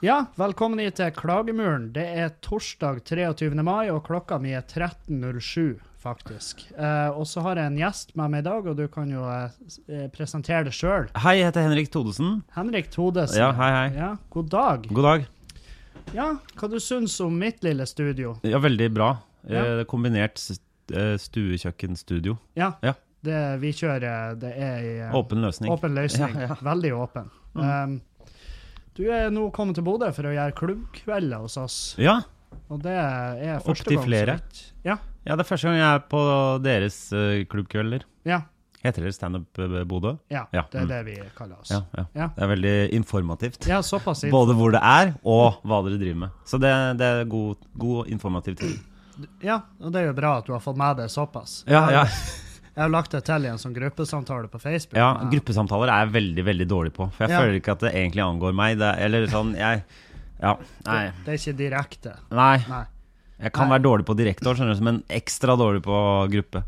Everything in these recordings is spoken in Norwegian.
Ja, velkommen hit til Klagemuren. Det er torsdag 23. mai, og klokka mi er 13.07, faktisk. Eh, og så har jeg en gjest med meg i dag, og du kan jo eh, s- eh, presentere det sjøl. Hei, jeg heter Henrik Todesen. Henrik Todesen. Ja, hei, hei. Ja, god dag. God dag. Ja, hva du syns om mitt lille studio? Ja, veldig bra. Ja. Eh, Kombinert s- eh, stuekjøkken-studio. Ja, Ja. Det, vi kjører Det er i, eh, Åpen løsning. åpen løsning. Ja, Mm. ja. Veldig åpen. Um, du er nå kommet til Bodø for å gjøre klubbkvelder hos oss. Ja, Og det er første Opptil gang. så flere. vidt. Ja. ja, det er første gang jeg er på deres eh, klubbkvelder. Ja, Heter det Standup eh, Bodø? ja, Ja, det er mm. det vi kaller oss. Ja, ja. Ja. Det er veldig informativt. Ja, såpass. inn- Både hvor det er, og hva dere driver med. Så det, det er god, god informativ tid. Ja, og det er jo bra at du har fått med deg såpass. Ja, ja. Jeg har lagt det til i en sånn gruppesamtale på Facebook. ja, men- gruppesamtaler er jeg veldig, veldig dårlig på. For jeg Ja. føler ikke at det egentlig angår meg. Det, er- eller sånn, jeg Ja, nei. det, det er ikke direkte. Nei. Nei. Jeg kan være dårlig på direktor, skjønner du, men ekstra dårlig på gruppe.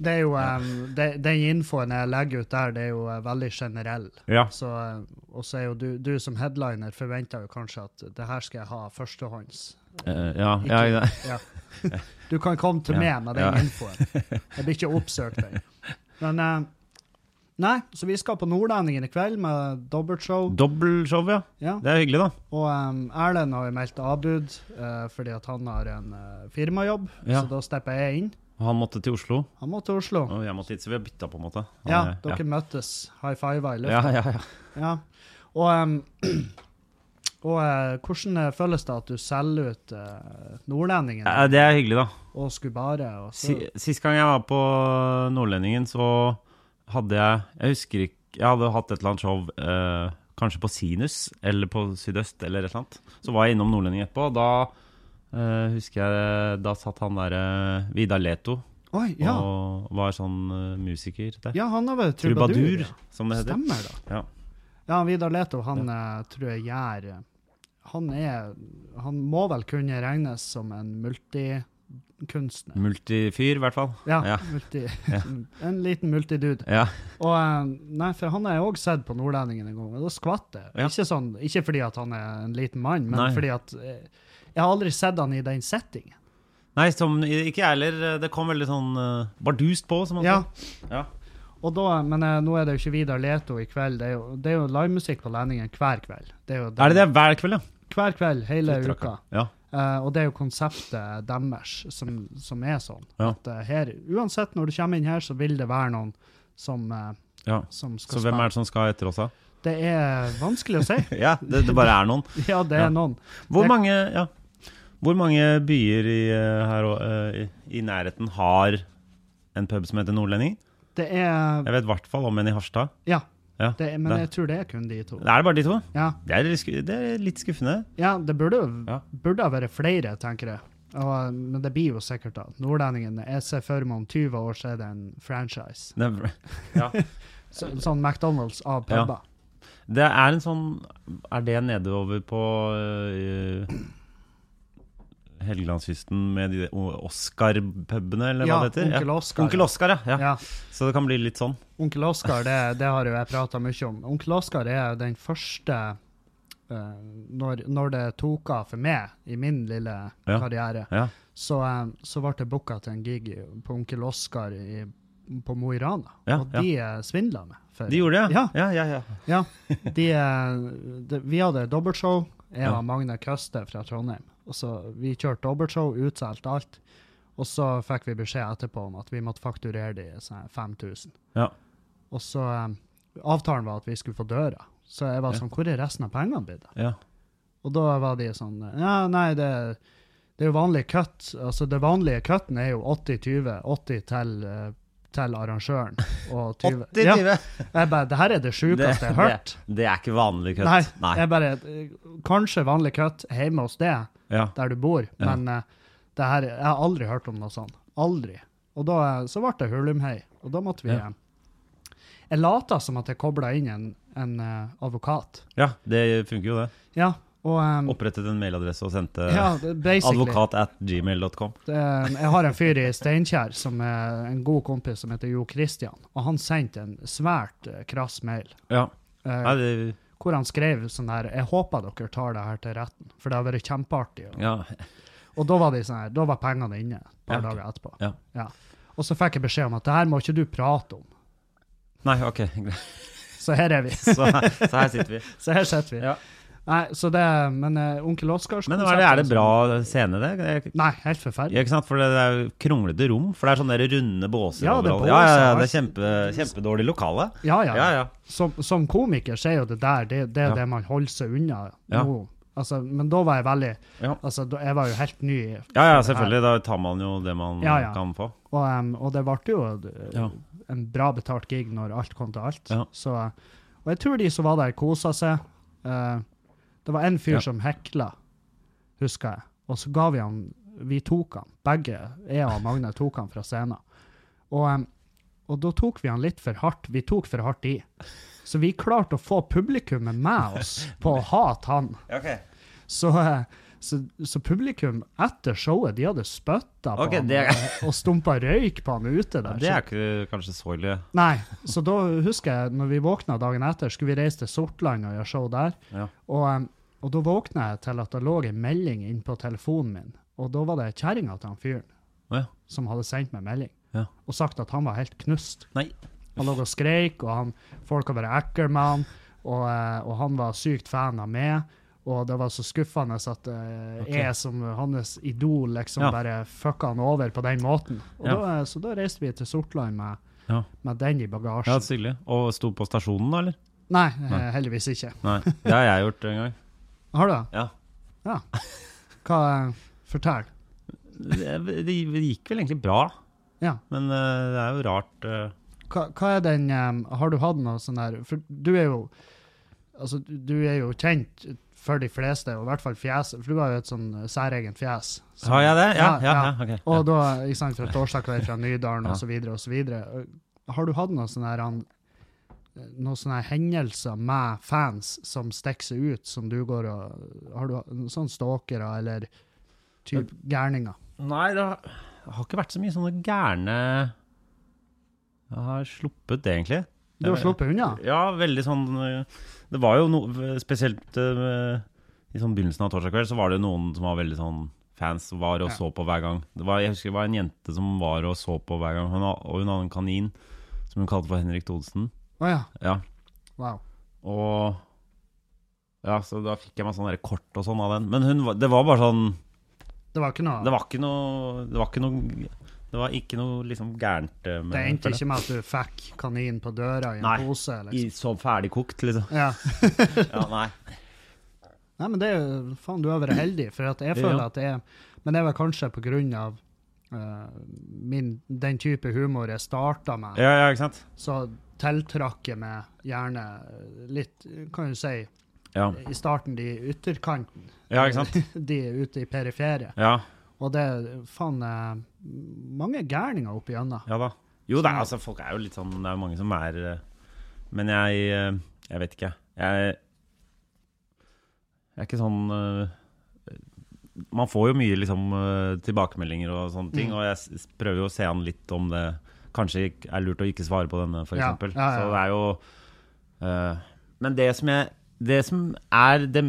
Det er jo, em, det, Den infoen jeg legger ut der, det er jo eh, veldig generell. Ja. Så, eh, og så er jo du, du som headliner forventer jo kanskje at det her skal jeg ha førstehånds. Eh, ja, Ikke- ja, ja. Ja. Du kan komme til Ja, meg med den ja. infoen. Jeg blir ikke oppsøkt der. Men eh, Nei, så vi skal på Nordlendingen i kveld med dobbeltshow. Dobbeltshow, ja. Ja. Det er hyggelig, da. Og em, Erlend har jo meldt avbud eh, fordi at han har en eh, firmajobb, Ja. så da stepper jeg inn. Og Han måtte til Oslo, Han må til Oslo. og jeg måtte hit, så vi har bytta, på en måte. Han Ja, er- dere møttes. High five i lufta. ja. ja, ja, ja. Ja. Og, em, og eh, hvordan eh, føles det at du selger ut eh, Nordlendingen Eh, Det er hyggelig, da. og Skubare? Og så, Si- Sist gang jeg var på Nordlendingen, så hadde jeg Jeg husker ikke Jeg hadde hatt et eller annet show eh, kanskje på Sinus eller på Sydøst eller et eller annet. Så var jeg innom Nordlendingen etterpå, og da eh, husker jeg Da satt han derre Vidar Leto Oi, ja. og var sånn eh, musiker der. ja, han har vel Trubadur, trubadur. ja. som det heter. Stemmer, da. Ja. Ja, Vidar Leto, han eh, tror jeg gjør eh, han, er, han må vel kunne regnes som en multikunstner. Multifyr, i hvert fall. Ja, Ja. Multi, en liten multidude. Ja. Og eh, nei, for han har jeg òg sett på Nordlendingen en gang, og da skvatt jeg. Ja. Ikke, sånn, ikke fordi at han er en liten mann, men Nei. fordi at eh, jeg har aldri sett han i den settingen. Nei, som ikke jeg heller. Det kom veldig sånn eh, bardust på, som man Ja, sier. Ja. og da, men eh, nå er det jo ikke Vidar Leto i kveld, det er jo, det er jo livemusikk på Lendingen hver kveld. Det er, jo den- Er det det hver kveld, ja? Hver kveld, hele Litt uka. rakka. Ja. Eh, og det er jo konseptet deres som, som er sånn. Ja. At eh, her, uansett når du kommer inn her, så vil det være noen som, eh, ja. som skal Så hvem er det som skal etter oss, da? spille. Det er vanskelig å si. Ja, det, det bare er noen. Ja, det er Ja. noen. Hvor Det- mange, ja, hvor mange byer i, eh, her, og, eh, i, i nærheten har en pub som heter Nordlending? Det er Jeg vet i hvert fall om en i Harstad. Ja. Ja, Det er, men det- jeg tror det er kun de to. Er det bare de to? Ja, Det er, litt sku- det er litt skuffende. ja det burde jo Ja. burde ha vært flere, tenker jeg. Og, eh, men det blir jo sikkert da. Nordlendingen Jeg ser for meg om 20 år så er det en franchise. Det er, ja. Så, sånn McDonald's av Ja. puber. det er en sånn Er det nedover på uh, Helgelandskysten med de o- Oscar-pubene, eller Ja, hva det heter? Onkel Oscar. Onkel Oscar, ja. ja. Ja. Så det kan bli litt sånn. Onkel Oskar, det, det har jo jeg prata mye om. Onkel Oskar er den første eh, når, når det tok av for meg i min lille Ja. karriere, Ja. så, eh, så ble jeg booka til en gig i- på Onkel Oskar i, på Mo i Rana. Ja, og de ja. svindla meg. for- De gjorde det, Ja. ja, ja, ja. ja de, eh, de, vi hadde dobbeltshow. Jeg Ja. var Magne Køste fra Trondheim. Og så Vi kjørte dobbeltshow, utsolgt alt. Og så fikk vi beskjed etterpå om at vi måtte fakturere de sånn 5000. ja. Og så eh, Avtalen var at vi skulle få døra. Så jeg var Ja. sånn Hvor er resten av pengene blitt av? ja. ja. Og da var de sånn Ja, nei, det, det er jo vanlig cut. Altså, det vanlige cutten er jo 80-20. 80 til eh, til arrangøren og 80 tyve. Ja, tyve. jeg bare, det her er det sjukeste jeg har hørt. Det er ikke vanlig kutt. Nei, Nei. jeg bare, eh, Kanskje vanlig cut hjemme hos deg, Ja. der du bor, Ja. men eh, det her, jeg har aldri hørt om noe sånt. Aldri. Og da, eh, så ble det hulumhei, og da måtte vi Ja. hjem. Jeg lata som at jeg kobla inn en, en eh, advokat. ja, det funker jo, det. Ja, og em, Opprettet en mailadresse og sendte ja, det- basically. eh, advokat at gmail.com. Det, em, Jeg har en fyr i Steinkjer som er en god kompis som heter Jo Christian, og han sendte en svært eh, krass mail. Ja. eh, Nei, det, hvor han skrev sånn her Jeg håper dere tar det her til retten, for det har vært kjempeartig. Og, ja. og da var de sånn her, da var pengene inne et par Ja, ok. dager etterpå. Ja. Og så fikk jeg beskjed om at det her må ikke du prate om. Nei, ok. greit. Så her er vi. Så, her- så her sitter vi. Så her sitter vi. Ja. Nei, så det, Men eh, onkel Oskars Men hva er det, er det bra scene, det? det? er- Nei, helt forferdelig. Ja, ikke sant? For det er jo kronglete rom. For det er sånne der runde båser. Ja, det er overalt. ja, ja, ja, det er båser, kjempe, kjempedårlig lokale. Ja, ja. Ja, ja. Som, som komiker så er jo det der det, det er Ja. det man holder seg unna Ja. nå. Altså, men da var jeg veldig Ja. altså, da, Jeg var jo helt ny, i- Ja, ja, selvfølgelig. Da tar man jo det man Ja, ja. kan få. og, em, og det ble jo eh, Ja. en bra betalt gig når alt kom til alt. Ja. Så, og jeg tror de som var der, kosa seg. Eh, det var en fyr Ja. som hekla, husker jeg. Og så ga vi han Vi tok han. Begge, jeg og Magne, tok han fra scenen. Og, em, og da tok vi han litt for hardt. Vi tok for hardt i. Så vi klarte å få publikummet med oss på å hate han. Så, eh, så, så publikum etter showet, de hadde spytta på Ok, han det- og, og stumpa røyk på han ute der. Ja, det så er ikke kanskje så ille. Nei, så da husker jeg når vi våkna dagen etter, skulle vi reise til Sortland og gjøre show der. Ja. Og, em, og da våkna jeg til at det lå en melding inn på telefonen min, og da var det kjerringa til han fyren Å ja. som hadde sendt meg melding Ja. og sagt at han var helt knust. Nei. Han lå og skreik, og han, folk har vært ekle med han, og, eh, og han var sykt fan av meg. Og det var så skuffende at eh, Ok. jeg som hans idol liksom Ja. bare fucka han over på den måten. Og Ja. da, eh, så da reiste vi til Sortland med, Ja. med den i bagasjen. Ja, så hyggelig. Og sto på stasjonen, da, eller? Nei, Nei. eh, heldigvis ikke. Nei. Det har jeg gjort en gang. Har du det? Ja. Ja. Hva eh, Fortell. Det, det gikk vel egentlig bra, Ja. men eh, det er jo rart eh. Hva, hva er den eh, Har du hatt noe sånn der For du er jo Altså, du- du er jo kjent for de fleste, og i hvert fall fjeset, for du har jo et sånn eh, særegent fjes. som- Har jeg det? Ja, Ja, ja, ja. ja. ok. Og da, ikke sant, fra Torsdag kveld fra Nydalen Ja. og så videre og så videre. Har du hatt noe sånn her han- noen sånne hendelser med fans som stikker seg ut, som du går og Har du sånn stalkere eller type gærninger? Nei, det har, det har ikke vært så mye sånne gærne Jeg har sluppet det, egentlig. Du har Jeg- sluppet unna? Ja, veldig sånn eh, Det var jo noe Spesielt eh, i sånn begynnelsen av torsdag kveld så var det noen som var veldig sånn fans som var og Ja. så på hver gang. Det var, jeg husker det var en jente som var og så på hver gang, hun, ha- og hun hadde en kanin som hun kalte for Henrik Thodesen. Å ja. Ja. Wow. Og Ja, så da fikk jeg meg sånn der kort og sånn av den. Men hun, var- det var bare sånn Det var ikke noe Det var ikke noe Det var ikke noe, det var ikke noe liksom gærent eh, med Det endte føler jeg. ikke med at du fikk kanin på døra i en Nei. pose? I, Liksom. så ferdigkokt, liksom. Ja. Ja, nei. Nei, men det er jo Faen, du har vært heldig, for at jeg Ja. føler at jeg Men det var kanskje på grunn av eh, min, den type humor jeg starta med, Ja, ja, ikke sant? så tiltrakk jeg meg gjerne eh, litt, kan du si, Ja, i starten de ytterkanten. ja ikke sant? De ute i periferiet. Ja. Og det er faen eh, mange gærninger opp igjennom. Ja da. Jo, det er, Så- altså, folk er jo litt sånn Det er jo mange som er eh, Men jeg eh, Jeg vet ikke. Jeg, jeg er ikke sånn eh, Man får jo mye liksom eh, tilbakemeldinger og sånne ting, Mm. og jeg s- prøver jo å se an litt om det kanskje ikk- er lurt å ikke svare på denne, f.eks. Ja, eksempel ja, ja. Så det er jo eh, Men det som jeg det som er det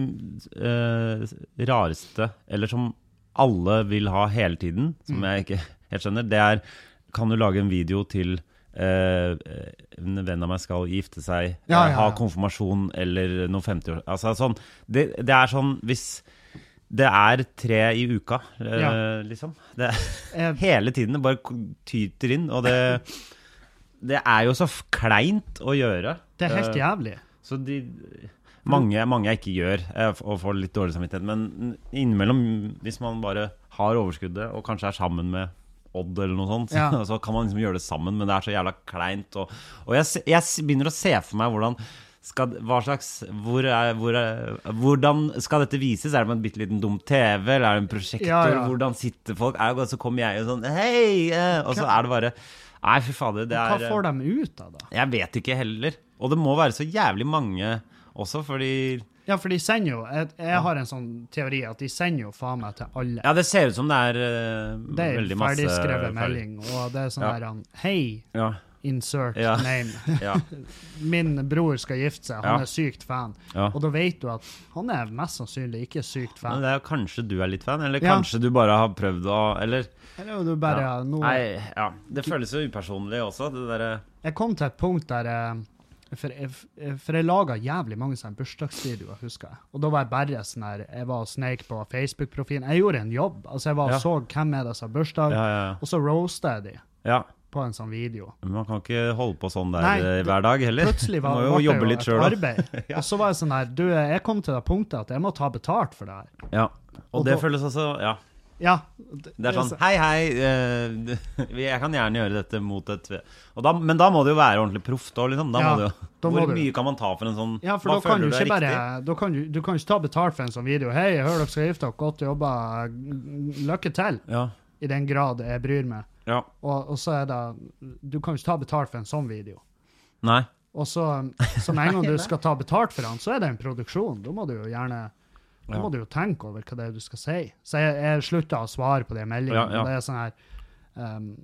eh, rareste, eller som alle vil ha hele tiden, Mm. som jeg ikke helt skjønner, det er kan du lage en video til eh, en venn av meg skal gifte seg, eh, Ja, ja, ha ja. konfirmasjon eller noe 50-år altså, sånn. det, det er sånn hvis det er tre i uka, eh, Ja. Eh, liksom. Det, Jeg- hele tiden. Det bare k- tyter inn. Og det, det er jo så f- kleint å gjøre. Det er helt Eh, jævlig. så de mange, mange jeg ikke gjør, eh, f- og får litt dårlig samvittighet. Men innimellom, hvis man bare har overskuddet, og kanskje er sammen med Odd eller noe sånt. Ja. Så kan man liksom gjøre det sammen, men det er så jævla kleint. Og, og jeg, se- jeg s- begynner å se for meg hvordan skal, hva slags, hvor er, hvor er, Hvordan skal dette vises? Er det med en bitte liten dum TV, eller er det en prosjektor? Ja, ja. Hvordan sitter folk? Er det, så kommer jeg og sånn Hei! eh», Og så er det bare Nei, fy fader. Det Hva er får de ut av det? Jeg vet ikke heller. Og det må være så jævlig mange også, fordi Ja, for de sender jo Jeg, jeg har en sånn teori at de sender jo faen meg til alle. Ja, det ser ut som det er eh, Det er veldig masse ferdigskrevet ferdig- melding, og det er sånn Ja. der han Hei, Ja, insert Ja. name. ja, Min bror skal gifte seg, han Ja. er sykt fan. ja. Og da vet du at han er mest sannsynlig ikke sykt Men fan. det er jo kanskje du er litt fan, eller Ja. kanskje du bare har prøvd å Eller Eller er det jo bare Ja. noe Nei, ja. Det føles jo upersonlig også, det derre Jeg kom til et punkt der eh, For jeg, for jeg laga jævlig mange sånne bursdagsvideoer, husker jeg. Og da var jeg bare sånn her Jeg var og sneik på Facebook-profilen. Jeg gjorde en jobb. Altså, jeg var og Ja. så hvem er det som har bursdag, ja, ja, og så roasta jeg de ja. på en sånn video. Men Man kan ikke holde på sånn der Nei, eh, det- hver dag heller. Plutselig var Må det jo ble jobbe litt et selv, da. arbeid. Og så var jeg sånn her Du, jeg kom til det punktet at jeg må ta betalt for det her. Ja. Og Og det da- føles også Ja. Ja. altså, Det er sånn Hei, hei, eh, vi- jeg kan gjerne gjøre dette mot et og da, Men da må det jo være ordentlig proft òg, liksom. Da Ja, må det jo, da må hvor du. mye kan man ta for en sånn Ja, for Hva da føler kan du du er ikke riktig? bare da kan du, du kan ikke ta betalt for en sånn video. 'Hei, jeg hører dere skal gifte dere. Godt jobba. Lykke til.' Ja. I den grad jeg bryr meg. ja. Og, og så er det Du kan ikke ta betalt for en sånn video. Nei. Og så, så med en gang du skal ta betalt for den, så er det en produksjon. Da må du jo gjerne da Ja. må du jo tenke over hva det er du skal si. Så jeg, jeg slutta å svare på de meldingene. Ja, ja. og Det er sånn her ehm,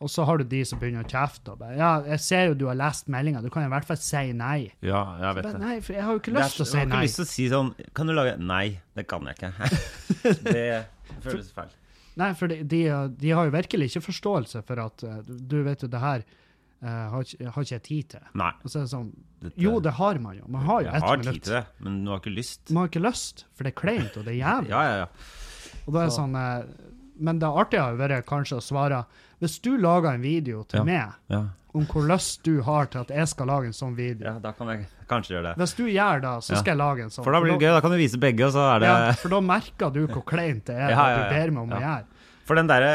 Og så har du de som begynner å kjefte. og bare, Ja, jeg ser jo du har lest meldinga, du kan i hvert fall si nei. Ja, jeg vet Men det. nei, for jeg har jo ikke Det er lyst til så- å si Jeg har nei. ikke lyst til å si sånn Kan du lage Nei, det kan jeg ikke. det føles feil. Nei, for de, de, de har jo virkelig ikke forståelse for at eh, du vet jo, det her eh, har, ikke, har ikke jeg tid til. Nei. Og så er det sånn dette- Jo, det har man jo. Man har jo jeg ett har tid minutt. til det, men du har ikke lyst. Man har ikke lyst, for det er kleint, og det er jævlig. Ja, ja, ja. Og da er det Så- sånn, eh, men det artige har jo vært kanskje å svare Hvis du lager en video til Ja. meg Ja, om hvor lyst du har til at jeg skal lage en sånn ja video da kan jeg kanskje gjøre det. Hvis du gjør det, så Ja. skal jeg lage en sånn. For da blir det gøy. Da kan du vise begge, og så er det Ja, for da merker du hvor kleint det er Ja, ja, at ja. du ber meg om Ja. å gjøre. For den derre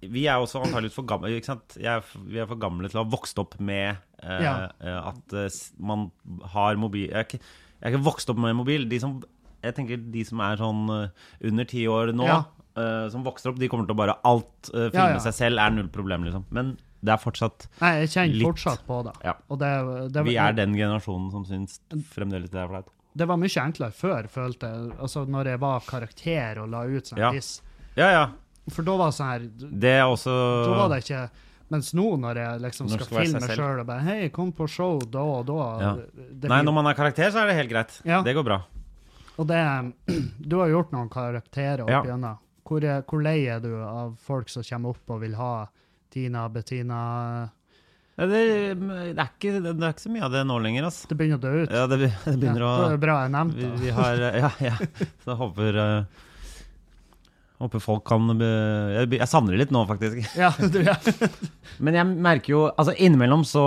Vi er også antakeligvis for gamle ikke sant? Jeg er, f- Vi er for gamle til å ha vokst opp med eh, Ja. eh, at eh, s- man har mobil Jeg er, ikke, jeg er ikke vokst opp med mobil. De som, jeg tenker de som er sånn eh, under ti år nå, Ja. eh, som vokser opp, de kommer til å bare alt eh, Ja, filme ja. seg selv, er null problem, liksom. Men det er fortsatt Nei, jeg kjenner Litt. fortsatt på det. Ja. Og det, det, Vi er den generasjonen som syns fremdeles det er flaut. det var mye enklere før, følte jeg. Altså, når jeg var karakter og la ut sånn Ja. diss. Ja, ja. For da var det sånn her Det er også Så var det ikke Mens nå, når jeg liksom Når skal, det skal være filme seg selv. sjøl og bare Hei, kom på show da og da. Ja. Det Nei, blir- når man er karakter, så er det helt greit. Ja. Det går bra. Og det Du har gjort noen karakterer opp Ja. igjennom. Hvor, er- hvor lei er du av folk som kommer opp og vil ha Tina, Bettina Ja, Det, mm, det, er ikke, det er ikke så mye av det nå lenger, altså. Det begynner å dø ut. Ja, det, be- det begynner å Ja, det er bra jeg vi, nevnte det. vi har eh, Ja, ja. Så jeg håper eh, Håper folk kan be, jeg, be- jeg savner det litt nå, faktisk. Ja, du, ja. Men jeg merker jo Altså, innimellom så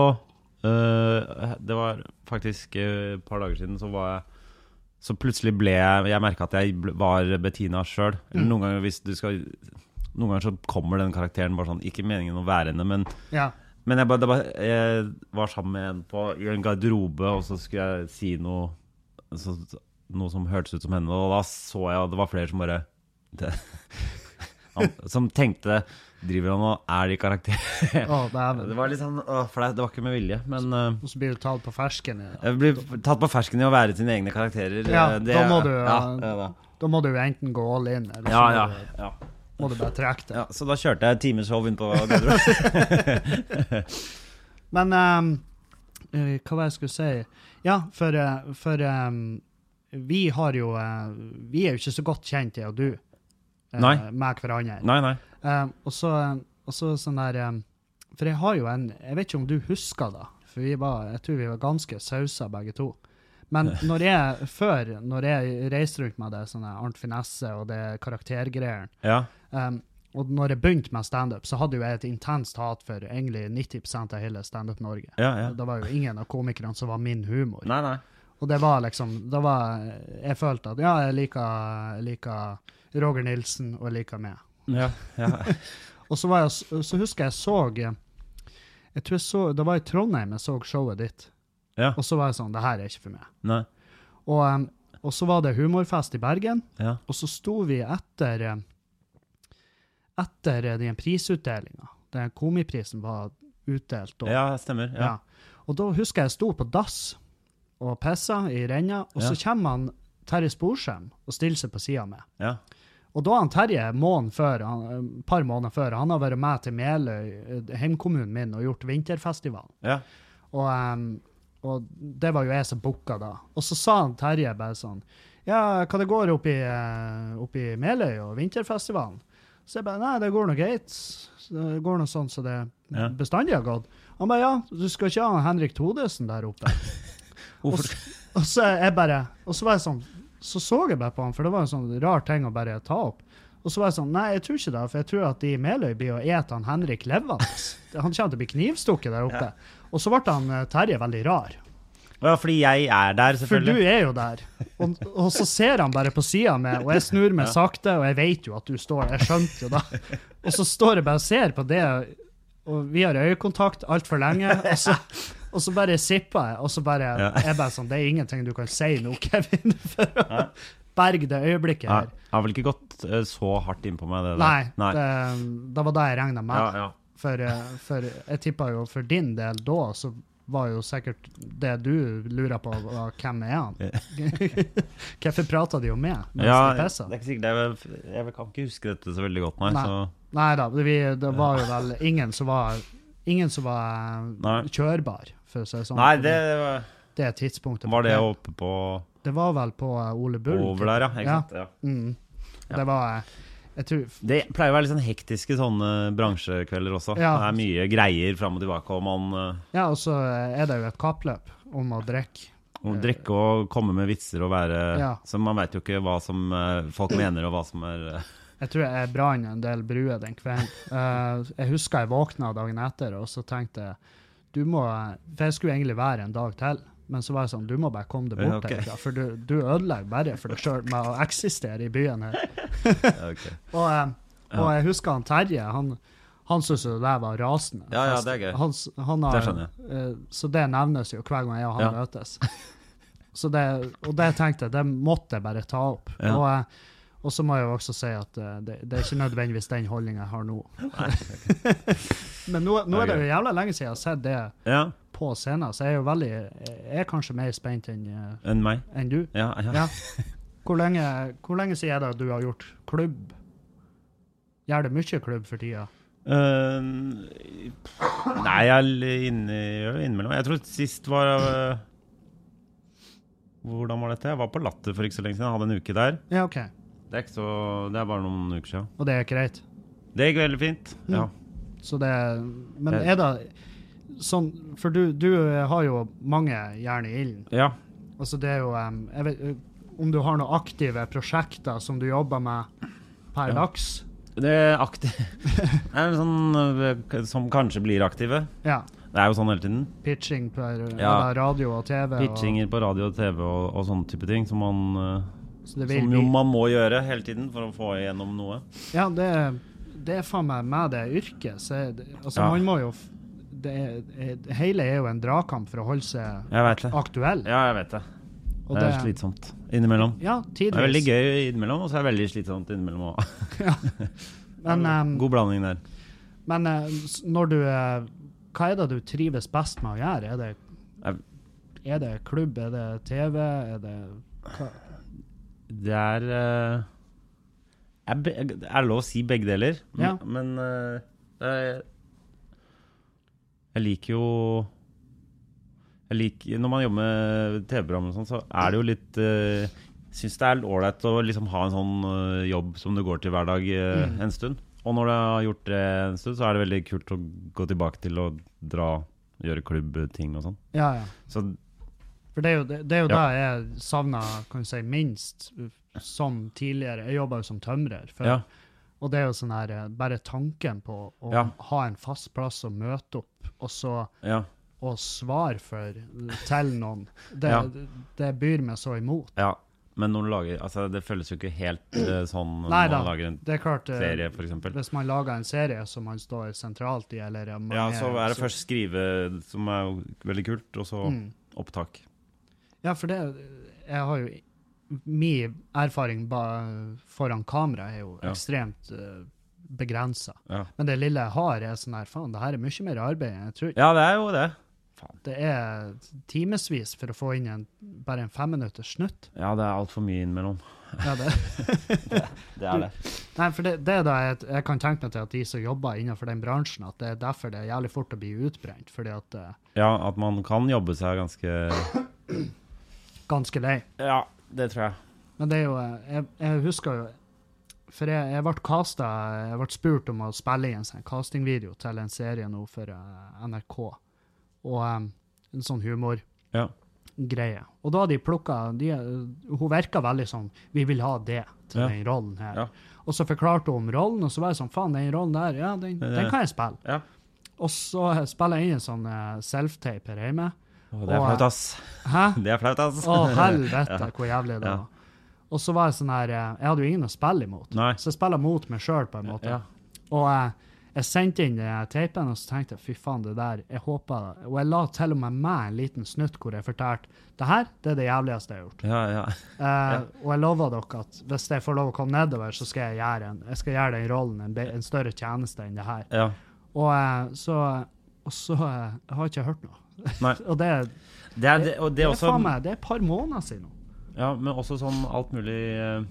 øh, Det var faktisk øh, et par dager siden så var jeg Så plutselig ble jeg Jeg merka at jeg ble- var Bettina sjøl. Eller Mm. Noen ganger hvis du skal Noen ganger så kommer den karakteren bare sånn Ikke meningen å være henne, men ja. men jeg, bare, det bare, jeg var sammen med en på, i en garderobe, og så skulle jeg si noe, så, noe som hørtes ut som henne. Og da så jeg at det var flere som bare det, han, Som tenkte Driver han og er i karakter? Å, dæven. Det var litt sånn åh, flaut. Det var ikke med vilje. Men eh, Og så blir du tatt på fersken. i det. jeg blir tatt på fersken i å være sine egne karakterer. Ja, eh, da må du, ja, eh, ja, da. Da må du enten gå all in, eller så ja, ja, må, du, ja, må du bare trekke det. ja. Så da kjørte jeg et timeshow inn på garderoben. Men ehm, eh, hva var det jeg skulle si? Ja, for, eh, for ehm, vi har jo eh, Vi er jo ikke så godt kjent, jeg og du, eh, Nei. med hverandre. Nei, nei. Ehm, og så og så sånn der ehm, For jeg har jo en Jeg vet ikke om du husker det, for vi var, jeg tror vi var ganske sausa begge to. Men når jeg før, når jeg reiste rundt med det sånne Arnt Finesse og det karaktergreiene Ja. Um, og når jeg begynte med standup, så hadde jo jeg et intenst hat for egentlig 90 av hele Standup Norge. Ja, ja. Det var jo ingen av komikerne som var min humor. Nei, nei. Og det var liksom det var, Jeg følte at ja, jeg liker, jeg liker Roger Nilsen, og jeg liker meg. Ja, ja. Og så, var jeg, s- så husker jeg jeg så jeg tror jeg så, Det var i Trondheim jeg så showet ditt. Ja. Og så var jeg sånn Det her er ikke for meg. Nei. Og, em, og så var det humorfest i Bergen, Ja. og så sto vi etter em, etter den prisutdelinga. Den komiprisen var utdelt. Og, ja, stemmer. Ja. ja. Og da husker jeg jeg sto på dass og pissa i renna, og så kommer han Terje Sporsem og stiller seg på sida mi. Ja. Og da han Terje, måned før, han, et par måneder før, han har vært med til Meløy, eh, heimkommunen min, og gjort vinterfestival. Ja. Og, em, og det var jo jeg som booka da. Og så sa han Terje bare sånn Ja, hva det går opp i, eh, opp i Meløy og vinterfestivalen? Så jeg bare Nei, det går nå greit. Så Det går nå sånn som det Ja. bestandig har gått. Han bare Ja, du skal ikke ha han Henrik Thodesen der oppe? Hvorfor Og så jeg bare, og så var jeg sånn, så så jeg bare på han, for det var en sånn rar ting å bare ta opp. Og så var jeg sånn, nei, jeg tror ikke det, for jeg tror at de i Meløy blir å ete han Henrik levende. Han kommer til å bli knivstukket der oppe. Og så ble han eh, Terje veldig rar. Ja, fordi jeg er der, For du selvfølgelig. er jo der. Og, og så ser han bare på sida mi, og jeg snur meg sakte, og jeg vet jo at du står der. Jeg skjønte jo det. Og så står jeg bare og ser på det, og vi har øyekontakt altfor lenge, og så, og så bare sipper jeg, og så bare Ja. jeg bare sånn Det er ingenting du kan si nå, Kevin, for å berge det øyeblikket Ja, her. jeg har vel ikke gått eh, så hardt innpå meg, det der. Nei, det, det var det jeg regna Ja, med. ja. For, eh, for jeg tippa jo for din del da, så var jo sikkert det du lurer på, var hvem er han? Hvorfor prata de om meg mens ja, de det pissa? er ikke sikkert det er, vel- Jeg kan ikke huske dette så veldig godt, nei. Nei. Så, Nei da, vi, det var jo vel ingen som var Ingen som var Nei. kjørbar, for å si det sånn. nei, det var- Det tidspunktet. var det oppe på Det var vel på eh, Ole Bull. over der, ja. Ikke sant? Ja. Mm. Ja. Det var eh, Jeg tror Det pleier å være litt sånn hektiske sånne bransjekvelder også. Ja. Det er mye greier fram og tilbake, og man eh, Ja, og så er det jo et kappløp om å drikke. må drikke og komme med vitser og være Eh. Ja. Så man veit jo ikke hva som eh, folk mener, og hva som er eh, Jeg tror jeg brant en del bruer den kvelden. Eh, jeg husker jeg våkna dagen etter, og så tenkte jeg du må, For jeg skulle egentlig være en dag til, men så var jeg sånn Du må bare komme deg Ja, bort ok. herfra, for du, du ødelegger bare for deg sjøl med å eksistere i byen her. ok. Og, eh, og jeg husker han Terje. Han, han syntes jo det der var rasende. Ja, ja, det er gøy. Han, s- han har, Det skjønner eh, så det nevnes jo hver gang jeg og han Ja. møtes. Så det, og det tenkte jeg, det måtte jeg bare ta opp. Ja. Og, eh, og så må jeg jo også si at eh, det, det er ikke nødvendigvis den holdninga jeg har nå. Men nå, nå er det jo jævla lenge siden jeg har sett det Ja, på scenen, så jeg er jo veldig Jeg er kanskje mer spent enn eh, enn meg. enn du. Ja, ja. Ja. Hvor lenge, hvor lenge siden er det du har gjort klubb? Gjør det mye klubb for tida? Eh, nei, jeg er inne, gjør det innimellom. Jeg tror sist var eh, Hvordan var dette? Jeg var på Latter for ikke så lenge siden. Jeg hadde en uke der. Ja, OK. Det er, ikke så, det er bare noen uker siden. Og det er greit. Det gikk veldig fint. Ja. Så det Men er det sånn For du, du eh, har jo mange jern i ilden. ja. Altså, det er jo em, Jeg vet eh, om du har noen aktive prosjekter som du jobber med per Ja. dags? Det er aktiv Det er sånn øh, som kanskje blir aktive. Ja. Det er jo sånn hele tiden. Pitching per Ja. eller radio og TV. Pitchinger på radio og TV og, og sånne type ting som man øh, Og, så det vil Som jo bli- man må gjøre hele tiden for å få igjennom noe. Ja, det, det er faen meg med det yrket. Så er det, altså, Ja. man må jo f- det er, er- Hele er jo en dragkamp for å holde seg Jeg veit det. aktuell. Ja, jeg vet det. Og Det er slitsomt innimellom. Ja, Det er veldig tidvis. gøy innimellom, og så er det veldig slitsomt innimellom òg. Men, em, God blanding der. men eh, s- når du eh, Hva er det du trives best med å gjøre? Er det, er det klubb? Er det TV? Er det hva? Det er eh, er be- Det er lov å si begge deler, men, Ja. men eh, det er, Jeg liker jo jeg liker, Når man jobber med TV-program, og sånn, så er det jo litt eh, Syns det er ålreit å liksom ha en sånn eh, jobb som du går til hver dag eh, en stund. Og når du har gjort det en stund, så er det veldig kult å gå tilbake til å dra, gjøre klubbting og sånn. Ja, ja. Så For det er jo det, det, er jo Ja. det jeg savna kan du si, minst uh, som tidligere. Jeg jobba jo som tømrer før. Ja. Og det er jo sånn her eh, Bare tanken på å Ja. ha en fast plass å møte opp, og så ja. og svare for til noen, det, Ja. det byr meg så imot. Ja. Men når du lager altså, Det føles jo ikke helt eh, sånn når Nei da. man lager en Det er klart, eh, serie, f.eks. hvis man lager en serie som man står sentralt i, eller om man Ja, så er det først skrive, som er jo veldig kult, og så Mm. opptak. Ja, for det Jeg har jo Min erfaring ba, foran kamera er jo Ja. ekstremt uh, begrensa. Ja. Men det lille jeg har, er sånn her Faen, det her er mye mer arbeid enn jeg tror. ja, det er jo det. Det er timevis for å få inn en, bare en femminutters snutt. Ja, det er altfor mye innimellom. Ja, det. Det er det. Nei, for det, det er da jeg, jeg kan tenke meg til at de som jobber innenfor den bransjen, at det er derfor det er jævlig fort å bli utbrent. Fordi at eh, Ja, at man kan jobbe seg ganske Ganske lei. Ja, det tror jeg. Men det er jo eh, Jeg, jeg husker jo For jeg, jeg ble casta Jeg ble spurt om å spille i en sånn castingvideo til en serie nå for eh, NRK. Og eh, en sånn humor. Ja. Greie. Og da de plukka de, eh, Hun virka veldig sånn Vi vil ha det til Ja. den rollen her. Ja. Og så forklarte hun om rollen, og så var jeg sånn Faen, den rollen der, ja, den, Det- den kan jeg spille. Ja. Og så spiller jeg inn en sånn eh, self-tape her hjemme. Å, det er Og, flaut, ass. Hæ? Det er flaut, ass. Å, helvete, hvor jævlig det Ja. var. Og så var jeg sånn her eh, Jeg hadde jo ingen å spille imot, Nei. så jeg spiller mot meg sjøl, på en måte. Ja. Og jeg, jeg sendte inn den her teipen, og så tenkte jeg fy faen, det der Jeg håper Og jeg la til og med med en liten snutt hvor jeg fortalte det her, det er det jævligste jeg har gjort. Ja, ja. Eh, Og jeg lover dere at hvis jeg får lov å komme nedover, så skal jeg gjøre, en, jeg skal gjøre den rollen en, be- en større tjeneste enn det her. ja. Og eh, så, og så eh, har jeg ikke hørt noe. Nei. og det, er- Det er, det, og det det, er er også faen meg, det er et par måneder siden nå. Ja, men også sånn alt mulig eh,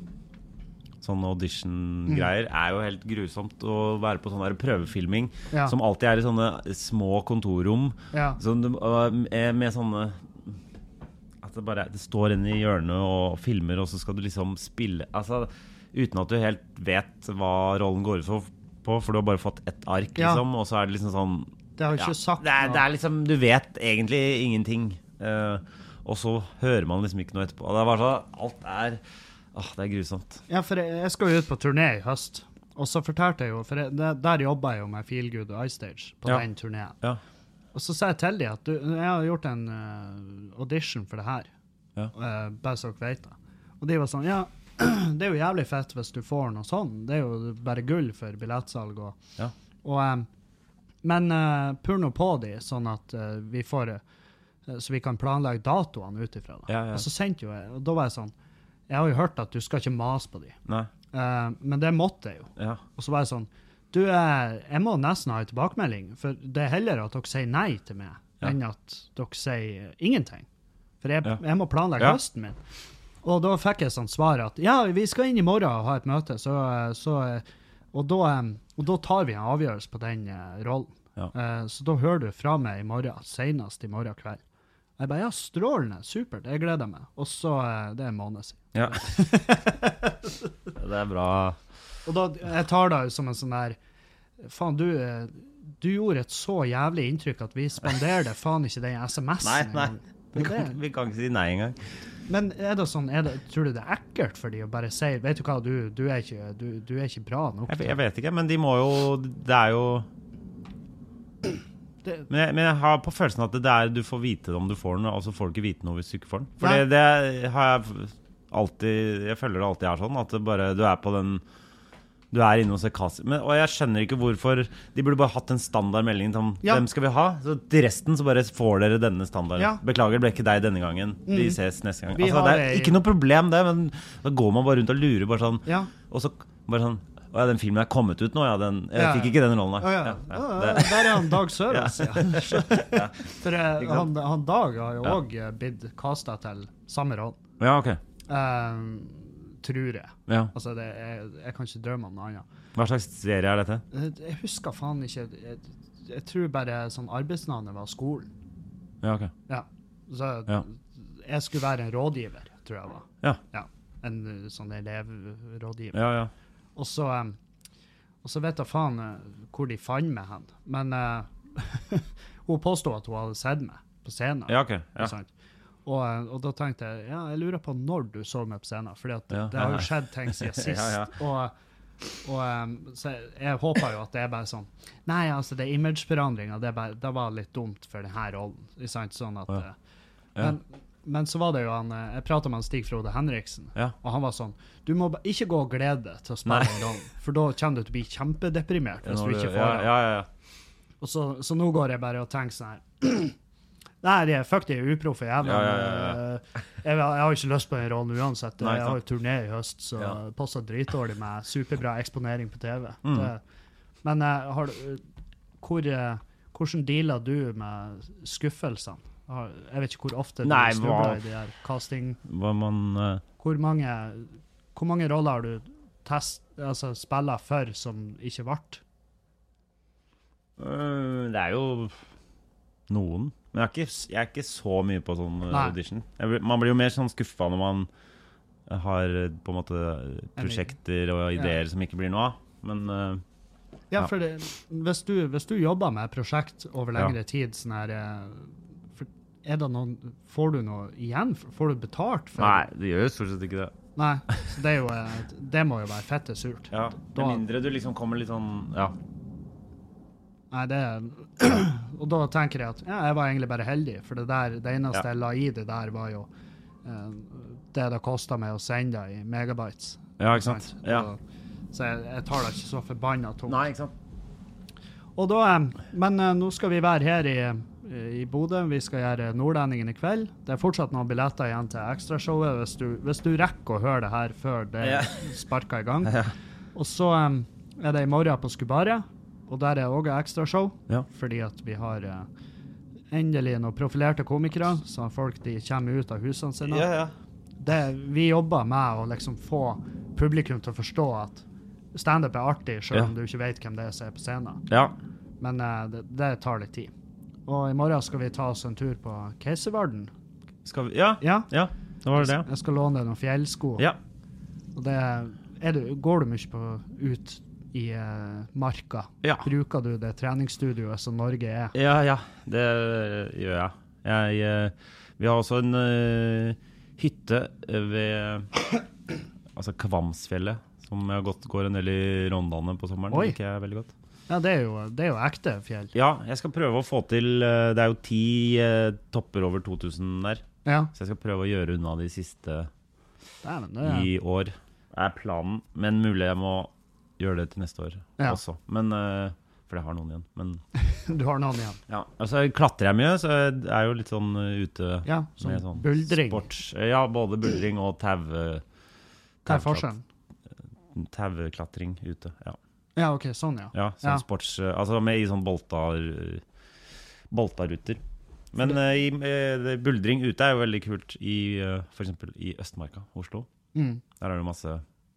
Sånn audition-greier Mm. er jo helt grusomt å være på sånn der prøvefilming Ja. som alltid er i sånne små kontorrom Ja. sånn, du- og, eh, med sånne At det bare det står inne i hjørnet og filmer, og så skal du liksom spille Altså uten at du helt vet hva rollen går ut for- på, for du har bare fått ett ark, Ja. liksom, og så er det liksom sånn Det har jo ja, ikke sagt det, er, noe. det er liksom Du vet egentlig ingenting. eh, og så hører man liksom ikke noe etterpå. Det er bare så, alt er Åh, det er grusomt. Ja, for jeg, jeg skal jo ut på turné i høst. Og så fortalte jeg jo, for jeg, der, der jobba jeg jo med Feel Good og Ice Stage på Ja. den turneen. Ja. Og så sa jeg til dem at du, jeg har gjort en eh, audition for det her, Ja. Eh, bare så dere vet det. Og de var sånn Ja, det er jo jævlig fett hvis du får noe sånn. Det er jo bare gull for billettsalg og, Ja. og eh, Men uh, pur nå på de, sånn at eh, vi får eh, Så vi kan planlegge datoene ut ifra det. Ja, ja. Og så sendte jo jeg, og da var jeg sånn Jeg har jo hørt at du skal ikke mase på de. Nei. Eh, men det måtte jeg jo. Ja. Og så var jeg sånn Du, eh, jeg må nesten ha en tilbakemelding, for det er heller at dere sier nei til meg, Ja. enn at dere sier eh, ingenting. For jeg, Ja. jeg må planlegge Ja. høsten min. Og da fikk jeg sånn svar at ja, vi skal inn i morgen og ha et møte, så, eh, så eh, og, da, eh, og da tar vi en avgjørelse på den eh, rollen. Ja. Eh, så da hører du fra meg i morgen, senest i morgen kveld. Jeg bare ja, strålende, supert, jeg gleder meg. Og så eh, Det er en måned siden. ja. det er bra. Og da, jeg tar det jo som en sånn der Faen, du, eh, du gjorde et så jævlig inntrykk at vi spanderte faen ikke den Nei, SMS-en nei. engang. Vi Det er kan, det. vi kan ikke si nei engang. Men er det sånn, er det, tror du det er ekkelt for de å bare si Vet du hva, du, du, er, ikke, du, du er ikke bra nok. Jeg, jeg vet ikke, men de må jo Det er jo Det- men jeg, men jeg har på følelsen at det er du får vite det om du får den, og så får du ikke vite noe hvis du ikke får den. For Nei. det, det har jeg alltid Jeg føler det alltid er sånn, at det bare Du er på den Du er inne hos en kasse men, Og jeg skjønner ikke hvorfor De burde bare hatt en standard melding om Ja. hvem skal vi ha. Så til resten så bare får dere denne standarden. Ja. Mhm. Beklager, det ble ikke deg denne gangen. Vi ses neste gang. Vi Altså, har det er ei- ikke noe problem, det, men da går man bare rundt og lurer bare sånn Ja. og så bare sånn Å ja, den filmen er kommet ut nå, ja. Den, jeg Ja, fikk ja. ikke den rollen, Å nei. ja. Ja, Å, ja, ja, det- Der er han Dag Sørås, ja. For eh, Ikke han, sant? han Dag har jo Ja. òg blitt casta til samme rolle, ja, ok. eh, tror jeg. Ja. Altså, det, jeg, jeg kan ikke drømme om noe annet. Hva slags serie er dette? Jeg Eh, jeg husker faen ikke Jeg, jeg tror bare sånn arbeidsnavnet var skolen. Ja, ok. Ja. Så Ja. jeg skulle være en rådgiver, tror jeg var. Ja. En uh, sånn elevrådgiver. Ja, ja. Og så um, Og så vet jeg faen uh, hvor de fant meg hen. Men uh, hun påsto at hun hadde sett meg på scenen. Ja, ok. Ikke Ja. sant? Og, uh, og da tenkte jeg ja, jeg lurer på når du så meg på scenen, for det, Ja, det har ja, ja. jo skjedd ting siden sist. Ja, ja. Og, og um, så jeg, jeg håper jo at det er bare sånn Nei, altså, det er imageforandringa. Det, er bare- det var litt dumt for denne rollen. Ikke sant? Sånn at Ja. uh, Ja. Men, men så var det jo han eh, Jeg prata med han Stig Frode Henriksen, Ja. og han var sånn Du må ba- ikke gå og glede deg til å Nei. spille en gang, for da kommer du til å bli kjempedeprimert hvis Når du ikke får ja, den. ja, ja, ja. Og så, så nå går jeg bare og tenker sånn her Nei, de er fuck de er uproffe jævla. Ja, ja, ja, Eh, Jeg, jeg har ikke lyst på den rollen uansett. Nei, jeg sant. har jo turné i høst, så Ja. det passer dritdårlig med superbra eksponering på TV. Mm. Det, men eh, har du hvor, eh, hvordan dealer du med skuffelsene? Har- Jeg vet ikke hvor ofte du Nei, hva- snubler i de her casting... Hva man eh, Hvor mange, hvor mange roller har du test, altså, spiller for som ikke ble? Øh, Det er jo noen. Men jeg er ikke, jeg er ikke så mye på sånn øh, Nei. audition. Jeg, blir- man blir jo mer sånn skuffa når man har øh, på en måte øh, prosjekter og Ja. ideer som ikke blir noe av. Men øh, Ja, Ja. for det, hvis, du, hvis du jobber med et prosjekt over Ja. lengre tid, sånn her eh, for, er det noen, Får du noe igjen? Får du betalt for nei, det gjør jo stort sett ikke det. Nei, Så det, er jo, eh, det må jo være fette surt. Ja, Da- Med mindre du liksom kommer litt sånn Ja. Nei, det er, Og da tenker jeg at ja, jeg var egentlig bare heldig, for det, der, det eneste Ja. jeg la i det der, var jo eh, det det kosta meg å sende det i megabytes. ja, ikke sant? Ja. Og- Så jeg, jeg tar det ikke så forbanna tungt. Nei, ikke sant? Og da, eh, men eh, nå skal vi være her i, eh, i Bodø. Vi skal gjøre Nordlendingen i kveld. Det er fortsatt noen billetter igjen til ekstrashowet, hvis, du- hvis du rekker å høre det her før det Ja. sparker i gang. Og så eh, er det i morgen på Skubaret, og der er òg ekstrashow, Ja. fordi at vi har eh, endelig noen profilerte komikere, så folk de kommer ut av husene sine Ja, ja. det vi jobber med å liksom få publikum til å forstå at standup er artig, selv Ja. om du ikke vet hvem det er som er på scenen. ja. Men eh, det, det tar litt tid. Og i morgen skal vi ta oss en tur på Keiservarden. Skal vi Ja, Ja, ja. det var det. jeg skal låne deg noen fjellsko. Ja. Og det er du, går du mye på ut i eh, marka? Ja. Bruker du det treningsstudioet som Norge er? Ja, ja, det gjør jeg. jeg eh, vi har også en eh, hytte eh, ved altså Kvamsfjellet, som jeg har gått, går en del i Rondane på sommeren. Oi. Det liker jeg veldig godt. Ja, det er jo, det er jo ekte fjell. Ja, jeg skal prøve å få til eh, Det er jo ti eh, topper over 2000 der, Ja, så jeg skal prøve å gjøre unna de siste dæven, det er i år, er planen. Men mulig jeg må gjøre det til neste år Ja. også. Men, eh, for jeg har noen igjen. Men Du har noen igjen. ja, altså, klatrer jeg mye, så jeg er jo litt sånn eh, ute Ja, sånn, Med sånn buldring. Sport. Ja, både buldring og tau... Hva er forskjellen? Tauklatring ute. Ja, Ja, OK, sånn, ja. ja sånn Ja. sports... Altså med i sånn boltar... Boltaruter. Men eh, i, eh, det- buldring ute er jo veldig kult i eh, for eksempel i Østmarka, Oslo. Mm. Der er det masse